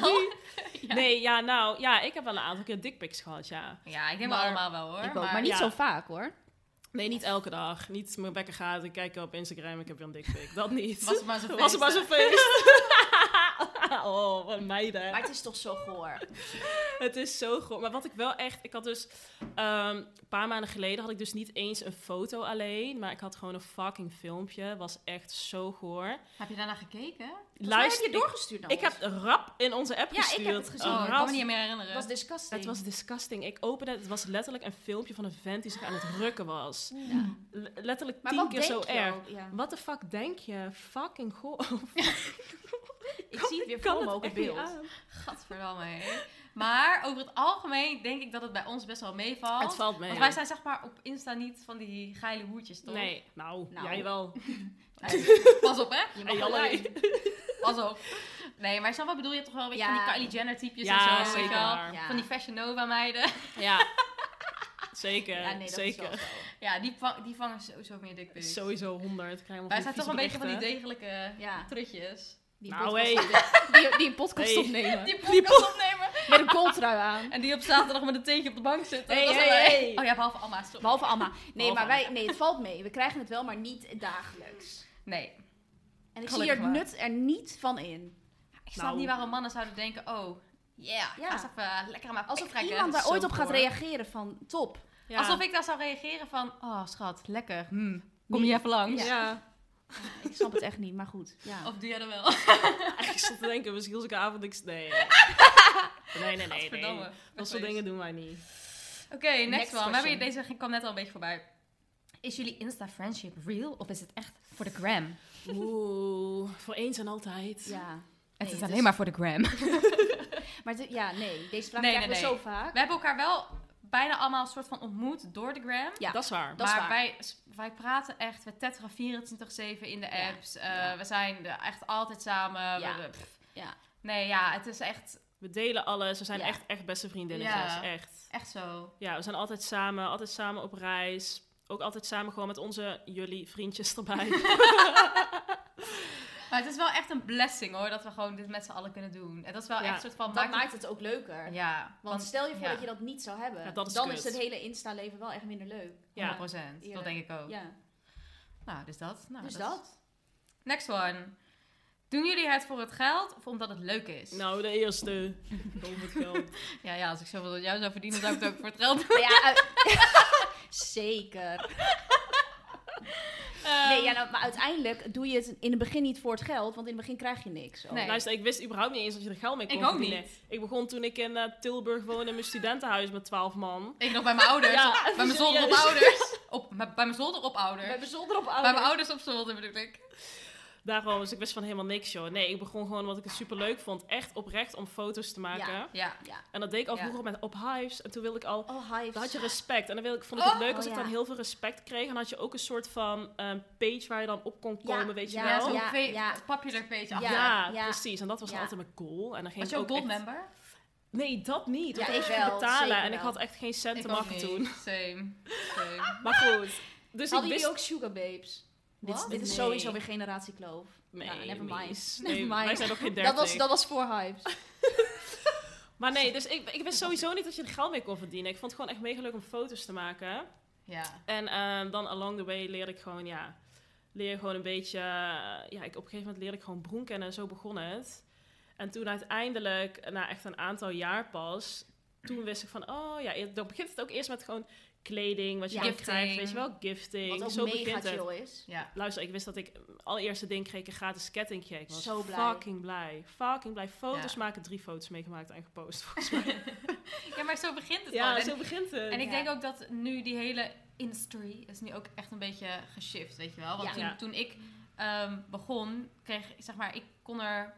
B: wel.
D: D. Nee, ja, nou, ja, ik heb wel een aantal keer dickpics gehad, ja.
B: Ja, ik denk
C: Maar-
B: wel allemaal wel hoor.
C: Nou, ik ook. Maar, niet
D: ja.
C: zo vaak hoor.
D: Nee, niet elke dag. Niet mijn bekken gaat en kijken op Instagram, ik heb weer een dickpic. Dat niet.
B: Was het maar zo'n
D: Was het maar
B: feest,
D: zo'n feest. oh, wat meiden.
C: Maar het is toch zo goor.
D: Het is zo groot. Maar wat ik wel echt. Ik had dus. ehm, een paar maanden geleden had ik dus niet eens een foto alleen. Maar ik had gewoon een fucking filmpje. Was echt zo goor.
B: Heb je daarna gekeken?
C: Luister, heb je
D: ik-
C: doorgestuurd naar
D: Ik
C: ons.
D: heb rap in onze app
C: Ja, ik heb
D: gestuurd.
C: het gezien.
B: Oh,
D: Rap.
B: ik kan me niet meer herinneren.
C: Het eh, was disgusting.
D: Het was disgusting. Ik opende het. Het was letterlijk een filmpje van een vent die zich aan het rukken was.
C: Ja.
D: L- letterlijk
C: Maar
D: tien
C: wat
D: keer
C: denk
D: zo
C: je
D: erg.
C: ook? Oh, Ja.
D: Wat de fuck denk je? Fucking goor.
C: Ik zie het weer voor me ook in beeld.
B: Gadverdamme. hé. Maar over het algemeen denk ik dat het bij ons best wel meevalt.
D: Het valt mee.
B: Want wij zijn zeg maar op Insta niet van die geile hoertjes, toch? Eh,
D: Nee, nou,
C: Nou.
D: jij wel.
B: Pas op, hè? Je
D: En
B: wel
D: Jallere.
B: zijn. Pas op. Nee, maar snap wat ik bedoel? Je hebt toch wel een beetje
C: Ja.
B: van die Kylie Jenner typjes
D: Ja,
B: en zo, weet je wel?
D: zeker.
C: Ja.
B: Van die Fashion Nova meiden.
D: Ja. Zeker,
C: Ja, nee, dat is
D: zeker.
C: wel zo.
B: Ja, die, vang- die vangen sowieso meer dickpics.
D: Sowieso 100. Krijg
B: Wij zijn toch een beetje van die degelijke
C: Ja.
B: trutjes.
C: Die
D: Nou,
C: podcast, die, die een podcast
D: Hey.
C: opnemen.
B: Die podcast opnemen.
C: Met een kooltrui aan.
B: En die op zaterdag met een teentje op de bank zitten.
D: Hey,
B: Dat is
D: hey,
B: wel-
D: hey.
B: Oh ja, behalve Alma, sorry.
C: Behalve Anna. Nee,
D: Behalve
C: maar wij, nee, het valt mee. We krijgen het wel, maar niet dagelijks.
B: Nee.
C: En ik
B: Gelukkig
C: zie er
B: maar.
C: nut er niet van in.
B: Ik snap
D: Nou.
B: niet waarom mannen zouden denken, oh, yeah,
C: Ja.
B: ja, alsof even lekker aan mijn
C: Alsof
B: pik trekken.
C: iemand daar
B: Zo
C: ooit op gaat
B: goor.
C: reageren van top.
B: Alsof ik daar zou reageren van, oh schat, lekker, hmm, kom
C: Nee.
B: je even langs?
D: Ja.
C: Ik snap het echt niet, maar goed. Ja.
B: Of doe jij dat wel?
D: Ik zat te denken, misschien als ik een avond niks... Nee, nee, nee, nee. nee,
B: Verdamme.
D: Dat soort dingen doen wij niet.
B: Oké, next,
C: Next
B: one. We hebben hier,
C: question.
B: deze kwam net al een beetje voorbij. Is jullie Insta-friendship real of is het echt voor de gram?
D: Oeh, voor eens en altijd.
C: Ja.
B: het
C: Nee,
B: is
C: het
B: alleen
C: is-
B: maar voor de gram.
C: Maar de- ja, nee. Deze vraag
B: Nee,
C: krijgen
B: nee,
C: we
B: nee.
C: zo vaak.
B: We hebben elkaar wel bijna allemaal een soort van ontmoet door de gram.
C: Ja.
D: Dat is waar.
C: Dat is
B: maar
C: waar.
B: Wij, wij praten echt, we tetteren 24-7 in de
C: Ja,
B: apps. Eh,
C: ja.
B: We zijn er echt altijd samen.
C: Ja,
B: We- we- pff.
C: ja.
B: Nee, ja, het is echt,
D: We delen alles. We zijn
C: Ja.
D: echt, echt beste vriendinnetjes.
B: Ja.
D: Echt.
B: echt zo.
D: Ja, we zijn altijd samen. Altijd samen op reis. Ook altijd samen gewoon met onze jullie vriendjes erbij.
B: Maar het is wel echt een blessing hoor, dat we gewoon dit met z'n allen kunnen doen. En dat is wel
D: Ja,
B: echt een soort van...
C: Dat maakt, het ook leuker.
B: het- Ja,
C: Want stel je voor
B: ja,
C: dat je dat niet zou hebben,
D: Ja, dat is
C: dan
D: kut.
C: is het hele Insta-leven wel echt minder leuk.
B: 100%.
C: Ja.
B: Dat denk ik ook.
C: Ja,
B: Nou, dus dat.
D: Ah,
B: Nou,
C: dus
B: is-
C: dat.
B: Next one. Doen jullie het voor het geld of omdat het leuk is?
D: Nou, de eerste. Over het geld.
B: Ja, ja, als ik zoveel dat jou zou verdienen, zou ik het ook voor het geld doen.
C: Ja, uit- zeker.
D: Ehm.
C: Nee, ja, nou, maar uiteindelijk doe je het in het begin niet voor het geld, want in het begin krijg je niks. ook.
B: Nee.
D: Luister, ik wist überhaupt niet eens dat je er geld mee kon
B: Ik ook
D: verdienen.
B: niet.
D: Ik begon toen ik in eh, Tilburg woonde in mijn studentenhuis met 12 man.
B: Ik nog bij mijn ouders.
D: Ja,
B: bij mijn zolder op
D: serieus.
B: ouders. Op, bij bij mijn zolder op ouders.
C: We hebben zonder op
B: Bij mijn
C: ouders.
B: ouders op zolder bedoel ik.
D: Daarom, dus ik wist van helemaal niks, joh. Nee, ik begon gewoon wat ik het superleuk vond. Echt oprecht om foto's te maken.
C: Ja.
B: Ja.
D: En dat deed ik al
B: Ja.
D: vroeger met op Hives. En toen wilde ik al...
C: Oh, hives.
D: Dan had je respect. En dan wil ik, vond ik het
B: Oh.
D: leuk als
C: Oh,
D: ik
C: ja.
D: dan heel veel respect kreeg. En dan had je ook een soort van ehm, page waar je dan op kon
C: Ja,
D: komen, weet je
C: ja,
D: wel.
B: zo'n
C: ja,
B: ve-
C: ja.
B: popular page
D: Ja,
B: achter.
C: Ja, ja.
D: precies. En dat was
C: Ja.
D: altijd mijn goal. En dan ging
B: Was
D: ik
B: je ook
D: ook
B: gold
D: echt-
B: member?
D: Nee, dat niet. Want
C: Ja,
D: dan
C: ik
D: moest je
C: wel,
D: betalen.
C: zeker
D: En ik
C: wel.
D: had echt geen cent te
B: ook
D: maken
B: niet.
D: toen.
B: Same. Same.
D: Maar goed. Dus
C: Hadden
D: ik wist...
C: jullie ook sugar babes? Dit, is-
B: Wat?
C: dit is
D: Nee.
C: sowieso weer generatie kloof.
D: Nee,
C: Ja, Nou, never
D: nee.
C: mind.
D: Nee,
C: Never
D: Wij
C: mind.
D: zijn nog geen dertig.
C: Dat was, dat was voor hypes.
D: Maar nee, dus ik, ik wist sowieso niet dat je er geld mee kon verdienen. Ik vond het gewoon echt mega leuk om foto's te maken.
B: Ja.
D: En ehm, dan along the way leerde ik gewoon, ja, leer je gewoon een beetje, eh, ja, ik, op een gegeven moment leerde ik gewoon Broen kennen en zo begon het. En toen uiteindelijk, na echt een aantal jaar pas, toen wist ik van, oh ja, dan begint het ook eerst met gewoon kleding, wat je
C: Ja.
D: dan
B: Gifting.
D: krijgt, weet je wel, gifting.
C: Wat ook
D: zo
C: mega
D: begint het.
C: chill is.
B: Ja.
D: Luister, ik wist dat ik mm, allereerste ding kreeg ik een gratis kettingje. Ik was
C: Zo blij.
D: fucking blij. Fucking blij. Foto's
B: Ja.
D: maken, drie foto's meegemaakt en gepost volgens mij.
B: ja, maar zo begint het
D: ja,
B: gewoon.
D: zo
B: En-
D: begint het.
B: En ik
C: Ja.
B: denk ook dat nu die hele industry is nu ook echt een beetje geshift, weet je wel. Want
C: Ja.
B: toen,
D: Ja.
B: toen ik ehm, begon, kreeg ik, zeg maar, ik kon er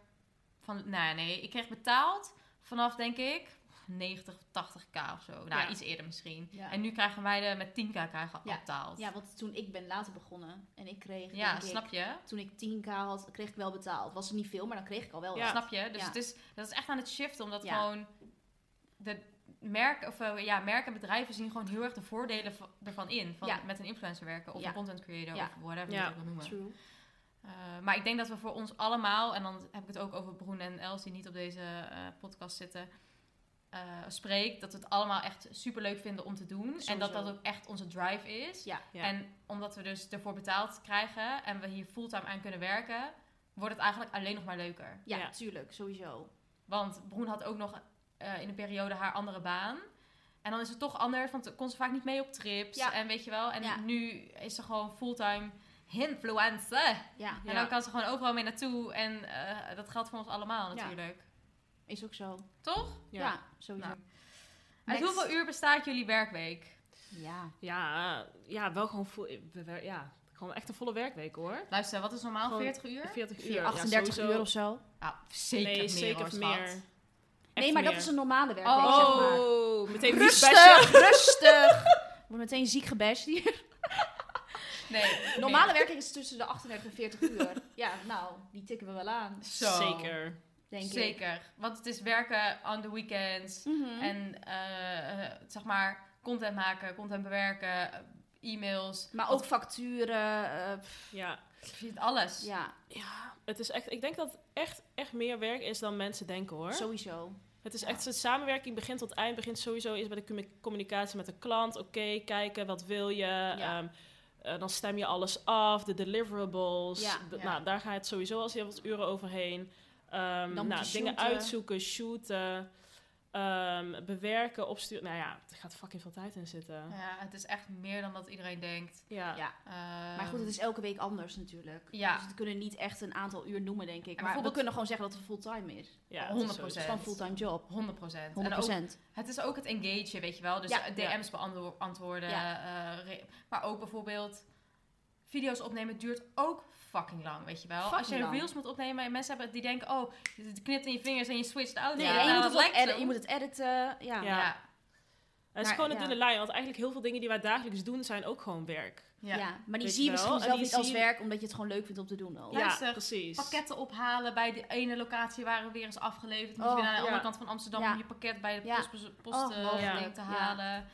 B: van, nou nee, ik kreeg betaald vanaf denk ik 90, 80k of zo. Nou,
D: Ja.
B: iets eerder misschien.
C: Ja.
B: En nu krijgen wij de met 10k krijgen
C: Ja.
B: betaald.
C: Ja, want toen ik ben later begonnen en ik kreeg,
B: Ja,
C: denk ik,
B: snap je?
C: toen ik 10k had, kreeg ik wel betaald. Was het niet veel, maar dan kreeg ik al wel.
D: Ja.
C: wat.
B: Snap je? Dus
C: Ja.
B: het is, dat is echt aan het shiften, omdat
C: Ja.
B: gewoon de merk, of, eh, ja, merken en bedrijven zien gewoon heel erg de voordelen van- ervan in. Van
C: Ja.
B: met een influencer werken of
C: Ja.
B: een content creator
C: Ja.
B: of whatever je
D: Ja.
B: het ook wil noemen.
C: True.
B: Eh, maar ik denk dat we voor ons allemaal, en dan heb ik het ook over Broen en Els die niet op deze eh, podcast zitten, eh, spreek, dat we het allemaal echt super leuk vinden om te doen. En dat
C: Sowieso.
B: dat ook echt onze drive is.
C: Ja.
D: Ja.
B: En omdat we dus ervoor betaald krijgen en we hier fulltime aan kunnen werken, wordt het eigenlijk alleen nog maar leuker.
C: Ja,
D: Ja.
C: tuurlijk, sowieso.
B: Want Broen had ook nog eh, in een periode haar andere baan. En dan is het toch anders, want kon ze vaak niet mee op trips.
C: Ja.
B: En weet je wel, en
C: Ja.
B: nu is ze gewoon fulltime influencer.
C: Ja,
B: En
D: Ja.
B: dan kan ze gewoon overal mee naartoe. En eh, dat geldt voor ons allemaal
C: Ja.
B: natuurlijk.
C: is ook zo.
B: Toch?
C: Ja,
D: Ja.
C: sowieso.
B: Nou. Uit
C: Next.
B: hoeveel uur bestaat jullie werkweek?
C: Ja.
D: Ja, eh, ja, wel gewoon, vo- we wer- ja, gewoon echt een volle werkweek hoor.
B: Luister, wat is normaal?
D: Gewoon
B: 40 uur?
D: 40 uur.
C: 38
D: ja,
C: uur
D: sowieso.
C: of zo.
B: Ah, zeker
D: nee,
B: meer
D: zeker
B: hoor,
D: meer.
B: schat.
C: nee,
D: Echt
C: maar dat
D: meer.
C: is een normale werkweek,
B: Oh.
C: zeg maar.
D: Oh, meteen rustig.
C: Rustig, rustig. Ik word meteen ziek gebashed hier.
B: Nee,
C: Normale werkweek is tussen de 38 en 40 uur. Ja, nou, die tikken we wel aan,
B: meer. Zo.
D: Zeker.
C: denk ik.
B: Zeker. Want het is werken on the weekends.
C: Mhm.
B: En eh, eh, zeg maar content maken, content bewerken, eh, e-mails.
C: Maar ook facturen. eh, pff,
D: Ja.
B: Precies alles.
C: ja,
D: ja, het is echt, ik denk dat het echt, echt meer werk is dan mensen denken hoor.
C: sowieso.
D: Het is echt, de samenwerking begint tot eind, begint sowieso eerst bij de commu- communicatie met de klant. Oké, kijken, wat wil je? Ehm, eh, dan stem je alles af, de deliverables.
C: Ja.
D: De-
B: Ja.
D: Nou, daar gaat het sowieso als heel wat uren overheen. Ehm,
C: Dan moet
D: nou,
C: je
D: dingen
C: shooten.
D: uitzoeken, shooten, ehm, bewerken, opsturen. Nou ja, er gaat fucking veel tijd in zitten.
B: Ja, het is echt meer dan dat iedereen denkt. Eh,
D: Ja.
C: Ja. Maar goed, het is elke week anders natuurlijk.
B: Ja.
C: Dus we kunnen niet echt een aantal uur noemen, denk ik.
B: En
C: Maar we
B: bijvoorbeeld-
C: kunnen gewoon zeggen dat het fulltime is.
D: Ja,
B: honderd
D: dat is
C: Het is
B: procent.
C: gewoon een fulltime job.
B: 100 procent.
C: 100 procent.
B: Het is ook het engagen, weet je wel. Dus
C: Ja.
B: eh, DM's beantwoorden.
C: Ja.
B: eh, re- maar ook bijvoorbeeld video's opnemen duurt ook fucking lang, weet je wel.
C: Fucking
B: Als je
C: lang.
B: reels moet opnemen en mensen hebben die denken... Oh, je knipt in je vingers en je switcht out.
C: Nee,
B: Ja,
C: en je,
B: nou,
C: moet
B: dat
C: het ook
B: lijkt
C: editen,
B: zo.
C: je moet het editen. Ja.
D: Ja.
B: Ja.
D: Het is
C: Maar,
D: gewoon een
C: ja.
D: dunne lijn, want eigenlijk heel veel dingen die wij dagelijks doen zijn ook gewoon werk.
B: Ja.
C: Ja, Maar die
D: Weet
C: zie je
D: je wel,
C: misschien
D: en
C: zelf
D: die
C: niet als
D: zie-
C: werk, omdat je het gewoon leuk vindt om te doen ook.
D: Ja,
B: Luister,
D: precies.
B: Pakketten ophalen bij de ene locatie waar we weer eens afgeleverd. Moet je
C: Oh,
B: weer naar de
D: ja.
B: andere kant van Amsterdam
C: Ja.
B: om je pakket bij de
C: Ja.
B: post, post
C: Oh,
B: eh,
C: mogelijk.
B: te
C: Ja.
B: halen. Eh,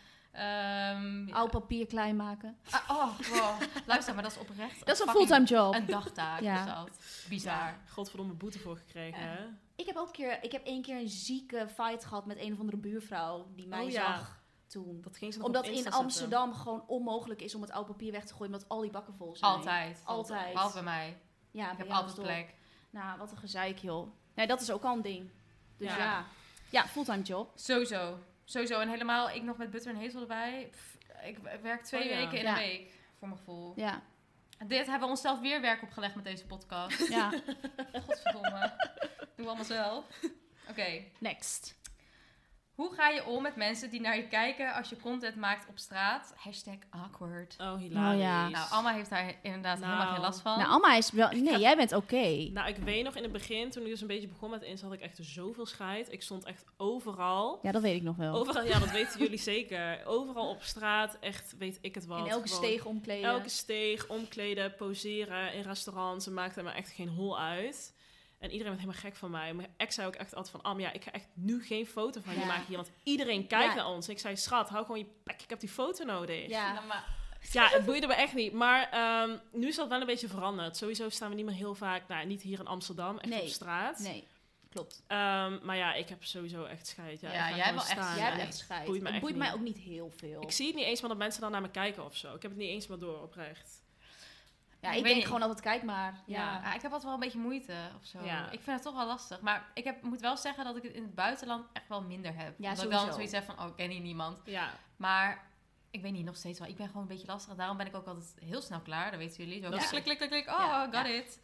B: Ehm, ja.
C: Oud papier klein maken.
B: Ah, oh, wow. Luister, maar dat is oprecht.
C: Dat is een
B: fucking-
C: fulltime job.
B: Een dagtaak
C: Ja.
B: is dat. Bizar.
D: Godverdomme boete voor gekregen.
B: Ja.
D: hè?
C: Ik heb ook keer, ik heb één keer een zieke fight gehad met een of andere buurvrouw die mij
D: Oh ja.
C: zag toen.
D: Dat ging ze nog op
C: Omdat in
D: Insta zetten.
C: Amsterdam gewoon onmogelijk is om het oud papier weg te gooien, omdat al die bakken vol zijn.
B: Altijd.
C: Altijd.
B: Behalve bij mij. Ik
C: Ja,
B: heb
C: bij jou
B: altijd
C: is het
B: plek.
C: op. Nou, wat een gezeik joh. Nee, dat is ook al een ding. Dus
D: Ja.
C: ja. Ja, fulltime job.
B: Sowieso. Sowieso. En helemaal, ik nog met butter en hezel erbij. Pff, ik werk twee
D: Oh ja.
B: weken in
C: Ja.
B: een week. Voor mijn gevoel.
C: Ja,
B: Dit hebben we onszelf weer werk opgelegd met deze podcast.
C: ja.
B: Godverdomme. Doen we allemaal zelf. Oké.
C: Next.
B: Hoe ga je om met mensen die naar je kijken als je content maakt op straat? Hashtag awkward.
D: Oh, hilarisch.
C: Oh ja.
B: Nou, Alma heeft daar inderdaad
D: Nou.
B: helemaal geen last van.
C: Nou, Alma is wel... Nee, jij bent oké.
D: Nou, ik weet nog in het begin, toen ik dus een beetje begon met Insta, had ik echt zoveel scheid. Ik stond echt overal.
C: Ja, dat weet ik nog wel.
D: Overal, ja, dat weten jullie zeker. Overal op straat, echt weet ik het wel.
C: in elke steeg omkleden.
D: Elke steeg, omkleden, poseren in restaurants. Het maakte me echt geen hol uit. En iedereen werd helemaal gek van mij. Mijn ex zei ook echt altijd van... Am, ja, ik ga echt nu geen foto van je
C: Ja.
D: maken hier. Want iedereen
C: Ja.
D: kijkt naar ons. En ik zei, schat, hou gewoon je pek. Ik heb die foto nodig. Ja,
C: Ja.
B: Nou, maar-
D: het boeide me echt niet. Maar ehm, nu is dat wel een beetje veranderd. Sowieso staan we niet meer heel vaak... Nou, niet hier in Amsterdam. Echt
C: Nee.
D: op straat.
C: Nee, klopt.
D: Ehm, maar ja, ik heb sowieso echt scheid. Ja,
B: Ja,
D: ik ga
B: jij
D: gewoon
B: wel echt-
D: staan.
B: Ah,
C: jij
B: ja,
C: hebt
B: nee.
C: echt scheid.
D: Boeit me
C: het
D: echt
C: boeit
D: niet.
C: mij ook niet heel veel.
D: Ik zie het niet eens maar dat mensen dan naar me kijken of zo. Ik heb het niet eens meer door, oprecht.
C: ja,
B: Ik
C: ik
B: weet
C: denk
B: niet.
C: gewoon altijd, kijk maar.
B: Ja,
C: Ja.
B: ah, ik heb altijd wel een beetje moeite of zo.
D: Ja.
B: Ik vind het toch wel lastig. Maar ik heb, moet wel zeggen dat ik het in het buitenland echt wel minder heb.
C: Ja,
B: dat ik
C: sowieso.
B: dan zoiets heb van, oh, ik ken hier niemand.
D: Ja,
B: Maar ik weet niet, nog steeds wel. Ik ben gewoon een beetje lastig. En daarom ben ik ook altijd heel snel klaar. Dat weten jullie. Zo
D: Dat is-
B: klik, klik, klik, klik. Oh,
C: Ja,
B: got
C: ja.
B: it.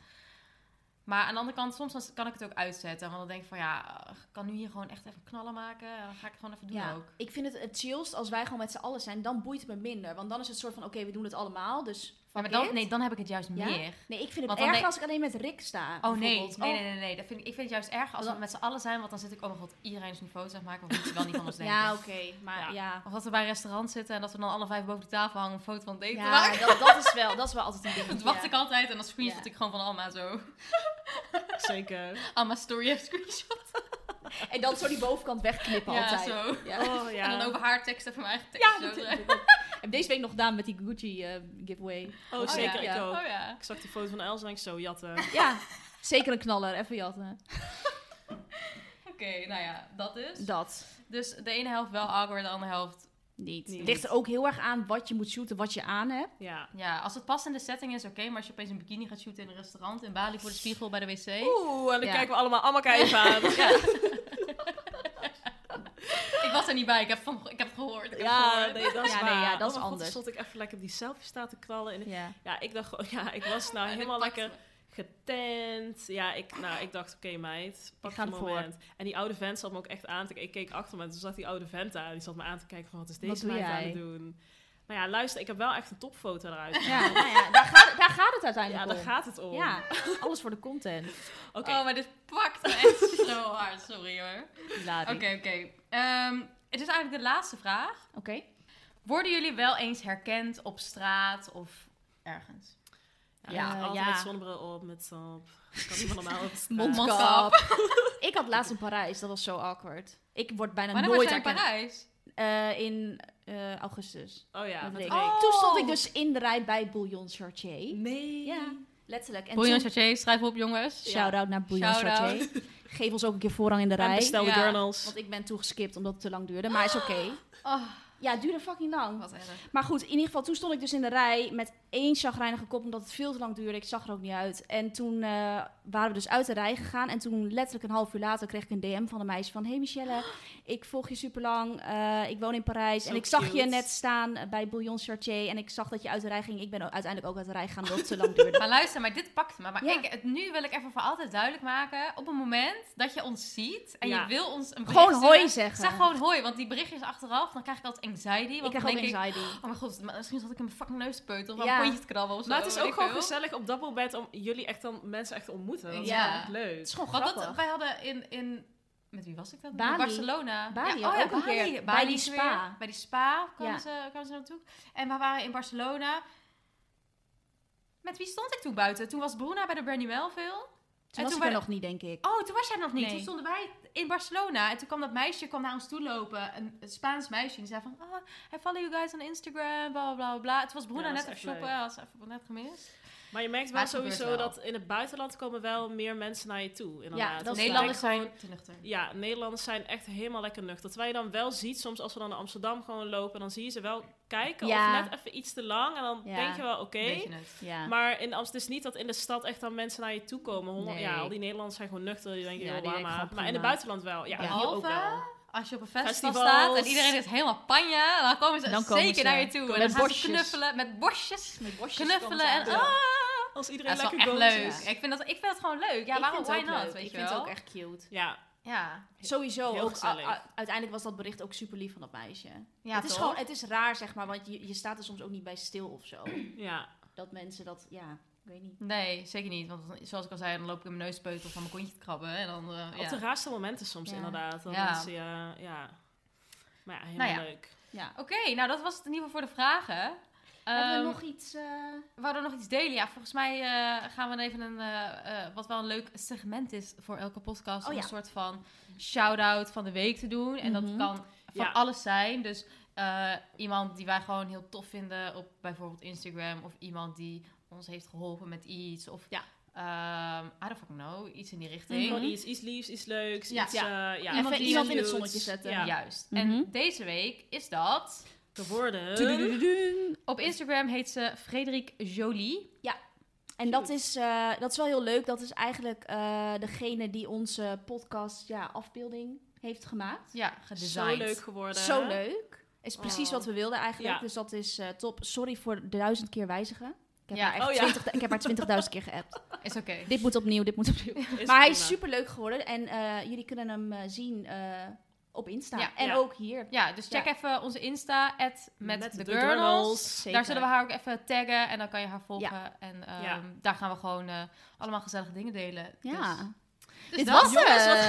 B: Maar aan de andere kant, soms dan kan ik het ook uitzetten. Want dan denk ik van, ja, ik kan nu hier gewoon echt even knallen maken. En dan ga ik het gewoon even doen
C: Ja,
B: ook.
C: ik vind het het chillst als wij gewoon met z'n allen zijn. Dan boeit het me minder. Want dan is het soort van, oké, we doen het allemaal. Dus
B: Ja,
C: fuck
B: maar dan,
C: it.
B: nee, dan heb ik het juist
C: Ja?
B: meer.
C: Nee, ik vind het
B: Want dan
C: erger
B: denk-
C: als ik alleen met Rick sta.
B: Oh nee, nee,
C: bijvoorbeeld.
B: nee,
C: Oh,
B: nee, nee. Dat vind ik, ik vind het juist erg als we
C: Dan-
B: met z'n allen zijn, want dan zit ik, oh mijn god, iedereen is nu foto's aan het maken, want moeten wel niet van ons denken.
C: Oh. Ja, oké. maar ja.
B: Of dat we bij een restaurant zitten en dat we dan alle vijf boven de tafel hangen om een foto van het eten te
C: Ja,
B: maken.
C: dat, dat, is wel, dat is wel altijd een ding.
B: Dat
C: ja.
B: wacht ik altijd en dan screenshot
C: Ja.
B: ik gewoon van Alma zo.
D: zeker.
B: Alma story heeft screenshot.
C: En dan zo die bovenkant wegknippen
B: Ja,
C: altijd.
B: zo.
C: Ja.
D: Oh, ja.
B: En dan over haar tekst en van mijn eigen tekst.
C: Ja, dat
B: zo. eh.
C: heb ik ook. Heb deze week nog gedaan met die Gucci eh, giveaway.
D: Oh,
C: Oh,
D: zeker,
B: ja.
D: ik
C: Ja.
D: ook.
B: Oh ja.
D: Ik zag die foto van Els en ik zo jatten.
C: Ja, zeker een knaller. Even jatten.
B: Oké, nou ja, dat is.
C: Dat
B: Dus de ene helft wel awkward, de andere helft...
C: niet.
D: Niet.
C: Het ligt er ook heel erg aan wat je moet shooten, wat je aan hebt.
D: Ja.
B: Ja, als het past in de setting is oké, maar als je opeens een bikini gaat shooten in een restaurant, in Bali voor de spiegel bij de wc...
D: Oeh, en dan
B: Ja.
D: kijken we allemaal allemaal even aan.
B: Ja. ik was er niet bij, ik heb, van, ik heb het gehoord. Ik heb het
D: Ja,
B: gehoord.
D: nee, dat is
C: Ja, nee,
D: waar.
C: ja, dat
D: Oh mijn
C: is
D: god,
C: anders.
D: toen stond ik even lekker op die selfie staan te knallen. En
C: Ja.
D: ja, ik dacht gewoon, ja, ik was nou
B: En dit
D: helemaal
B: pakt
D: lekker
B: me.
D: getent. Ja, ik, nou, ik dacht, oké meid, pak
C: Ik ga
D: het
C: ervoor.
D: moment. En die oude vent zat me ook echt aan te kijken. Ik keek achter me en toen zat die oude vent daar. Die zat me aan te kijken van, wat is
C: Wat
D: deze
C: doe
D: meid aan
C: jij?
D: het doen? Maar ja, luister, ik heb wel echt een topfoto eruit. gehaald.
C: Ja, nou ja, daar, gaat, daar gaat het
D: Ja,
C: uiteindelijk
D: daar
C: om.
D: gaat het om.
C: Ja, alles voor de content.
D: Oké,
B: Oh, maar dit pakt me echt zo hard. Sorry hoor. Oké,
C: Hilarisch.
B: oké. Ehm, het is eigenlijk de laatste vraag.
C: Oké.
B: Worden jullie wel eens herkend op straat of ergens?
D: ja,
C: ja,
D: altijd
C: ja.
D: met zonnebril op, met zand. Ik kan niet van normaal op straat.
B: Mond-
C: Mondkap. ik had laatst in Parijs, dat was zo awkward. Ik word bijna
B: Wanneer was
C: nooit
B: jij in
C: herkend.
B: Parijs?
C: Eh, in eh, augustus.
D: Oh ja,
C: Met
D: met
C: Rick.
D: Rick.
B: Oh.
C: Toen stond ik dus in de rij bij Bouillon Chartier.
D: Nee.
C: Ja, letterlijk. En
B: Bouillon
C: toen-
B: Chartier, schrijf op jongens.
C: Shout-out naar Bouillon
B: Shout-out.
C: Chartier. Geef ons ook een keer voorrang in de rij.
D: bestel de
B: Ja.
D: journals.
C: Want ik ben toegeskipt omdat het te lang duurde, maar is oké.
B: Oh,
C: Ja, het duurde fucking lang.
B: wat erg.
C: Maar goed, in ieder geval, toen stond ik dus in de rij met één chagrijnige kop, omdat het veel te lang duurde. Ik zag er ook niet uit. En toen eh, waren we dus uit de rij gegaan. En toen, letterlijk een half uur later, kreeg ik een DM van een meisje van... Hey Michelle, ik volg je superlang. lang. ik woon in Parijs.
D: Zo
C: en ik zag je
D: cute.
C: net staan eh, bij Bouillon Chartier. En ik zag dat je uit de rij ging. Ik ben uiteindelijk ook uit de rij gegaan, omdat het te lang duurde.
B: Maar luister, maar dit pakt me. Maar
C: Ja.
B: ik, het, nu wil ik even voor altijd duidelijk maken. Op het moment dat je ons ziet en
D: Ja.
B: je wil ons een bericht
C: Gewoon
B: sturen,
C: hoi zeggen.
B: Zeg gewoon hoi, want die berichtjes achteraf, dan krijg ik altijd anxiety.
C: ik
B: Want
C: krijg
B: dan
C: ook
B: denk ik,
C: anxiety.
B: Oh mijn god, maar misschien zat ik in mijn fucking neuspeutel of aan
C: Ja.
B: mijn pontje te krabben of zo.
D: Maar het is ook
B: weet
D: gewoon
B: ik veel.
D: gezellig op Dappelbed om jullie echt dan mensen echt te ontmoeten. Dat is
B: Ja.
D: wel echt
C: Het
D: leuk.
C: is gewoon
B: Want
C: grappig.
B: dat, wij hadden in, in... Met wie was ik dat?
C: Bali.
B: In Barcelona.
C: Bali
B: ja, oh ja,
C: ook een
B: Bali.
C: keer.
B: Bali
C: Bij die
B: is weer-
C: spa.
B: bij die spa kwamen,
C: Ja.
B: ze, kwamen ze naartoe. En we waren in Barcelona. Met wie stond ik toen buiten? Toen was Bruna bij de Bernie Melville.
C: Toen was
B: toen
C: ik er
B: waren-
C: nog niet, denk ik.
B: Oh, toen was jij nog niet.
C: Nee.
B: Toen stonden wij in Barcelona. En toen kwam dat meisje kwam naar ons toe lopen. Een een Spaans meisje. Die zei van... Ah, I follow you guys on Instagram. Bla, bla, bla, bla. Het was Bruna
D: Ja, dat
B: net
D: is
B: even
D: echt
B: shoppen.
D: leuk.
B: Had ze even net gemist.
D: Maar je merkt
B: Maar
D: wel
B: het gebeurt
D: sowieso
B: wel.
D: dat in het buitenland komen wel meer mensen naar je toe. Inderdaad. Dus
C: dat is waar.
B: Nederlanders
D: Ik denk
B: zijn
D: gewoon-
B: te nuchter.
D: Ja, Nederlanders zijn echt helemaal lekker nuchter. Terwijl je dan wel ziet, soms als we dan naar Amsterdam gewoon lopen, dan zie je ze wel kijken
C: Ja.
D: of net even iets te lang. En dan
C: Ja.
D: denk je wel, oké.
B: Weet je het.
C: Ja.
D: Maar in Amsterdam is niet dat in de stad echt dan mensen naar je toe komen. Honderd-
C: Nee.
D: Ja, al die Nederlanders zijn gewoon nuchter. Je denkt,
C: Ja,
D: ja,
C: die denken
D: maar.
C: gewoon
D: Maar in het
C: prima.
D: buitenland wel.
C: Ja.
D: Ja, hier ook
B: Behalve-
D: wel.
B: Als je op een festival
D: Festivals.
B: staat en iedereen is helemaal panja, dan komen ze
C: Dan komen
B: zeker
C: ze.
B: naar je toe.
C: Met
B: en dan gaan ze
C: borstjes.
B: knuffelen met borstjes.
C: Met bosjes
B: Knuffelen en...
C: Ja.
B: ah,
D: Als iedereen
B: dat is wel
D: lekker
B: echt
D: goes.
B: leuk.
C: Ja.
B: Ik, vind dat, ik vind dat gewoon leuk. Ja,
C: Ik
B: waarom
C: vind
B: why
C: het ook
B: not?
C: leuk.
B: Weet
C: ik
B: je
C: vind
B: wel?
C: het ook echt cute.
D: Ja,
B: Ja,
C: Sowieso
D: Heel
C: ook.
D: gezellig.
C: a- a- uiteindelijk was dat bericht ook super lief van dat meisje.
B: ja
C: het, is
B: toch?
C: gewoon, het is raar, zeg maar, want je, je staat er soms ook niet bij stil of zo.
D: ja.
C: Dat mensen dat, ja, ik weet niet.
B: Nee, zeker niet. Want dan- zoals ik al zei, dan loop ik in mijn neuspeutel van mijn kontje te krabben. En dan, eh,
D: Op de
B: ja.
D: raarste momenten soms
C: Ja.
D: inderdaad. Dan
B: Ja.
D: mensen, ja, ja. Maar ja, helemaal
B: Nou ja.
D: leuk.
C: Ja.
B: Oké, nou dat was het in ieder geval voor de vragen.
C: Hebben
B: Ehm,
C: we nog iets? eh,
B: we hadden nog iets delen. Ja, volgens mij eh, gaan we even een, eh, eh, wat wel een leuk segment is voor elke podcast,
C: Oh,
B: om
C: ja.
B: een soort van shout-out van de week te doen. En
C: Mhm.
B: dat kan van
D: Ja.
B: alles zijn. Dus eh, iemand die wij gewoon heel tof vinden op bijvoorbeeld Instagram, of iemand die ons heeft geholpen met iets, of
C: Ja.
B: ehm, I don't fucking know, iets in die richting.
D: Gewoon iets, iets liefs, iets leuks,
B: Ja.
D: iets... eh, Ja.
C: Even
D: iets
C: iemand in het
D: cutes.
C: zonnetje zetten.
D: Ja.
B: Juist.
C: Mhm.
B: En deze week is dat.
D: Geworden.
B: Op Instagram heet ze Frederik Jolie.
C: En dat is, eh, dat is wel heel leuk. Dat is eigenlijk eh, degene die onze podcast ja, afbeelding heeft gemaakt.
B: Ja,
D: Zo
B: gedesigned.
D: leuk geworden.
C: Zo leuk. Is precies
D: Oh.
C: wat we wilden eigenlijk.
D: Ja.
C: Dus dat is eh, top. Sorry voor de duizend keer wijzigen. Ik heb
B: Ja.
C: haar echt
D: Oh ja.
C: 20 ik heb haar 20.000 keer geappt.
B: Is oké.
C: Dit moet opnieuw, dit moet opnieuw.
D: Is
C: maar hij
D: prima.
C: is super leuk geworden. En eh, jullie kunnen hem eh, zien eh, op Insta.
B: Ja.
C: en
D: Ja.
C: ook hier.
B: Ja, dus check
C: Ja.
B: even onze Insta, at met, de, girls.
C: Zeker.
B: Daar zullen we haar ook even taggen en dan kan je haar volgen. En ehm,
D: Ja.
B: daar gaan we gewoon eh, allemaal gezellige dingen delen.
C: Ja.
B: Dus, dus
C: Dit
B: dat-
C: was
D: Jongens, wat
C: het.
B: Eh,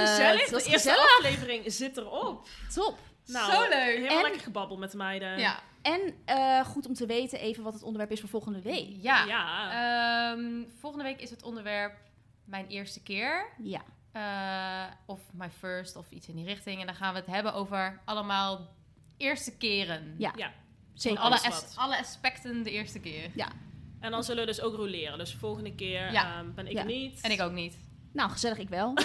C: Dat
D: gezellig. De
C: is
D: eerste
C: gezellig.
D: aflevering zit erop.
C: Top.
D: Nou,
B: Zo leuk.
D: Helemaal
C: En-
D: lekker gebabbel met de meiden.
B: Ja.
C: En eh, goed om te weten even wat het onderwerp is voor volgende week.
B: ja.
D: Ja.
B: Ehm, volgende week is het onderwerp mijn eerste keer.
C: Ja.
B: Eh, of My First of iets in die richting. En dan gaan we het hebben over allemaal eerste keren.
C: Ja,
B: Van
C: Zeker.
B: alle,
D: is
B: as-
D: wat.
B: alle aspecten de eerste keer.
D: En dan zullen we dus ook roleren. Dus volgende keer
B: Ja.
D: ehm, ben ik
C: Ja.
D: er niet.
B: En ik ook niet.
C: Nou, gezellig ik wel.
B: Oké,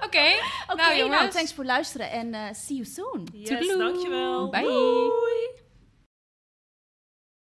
C: Oké,
B: nou
C: nou,
B: jongens.
C: thanks voor het luisteren en eh, see you soon.
D: Yes,
B: Toedeloe.
D: dankjewel.
B: Bye.
D: Doei.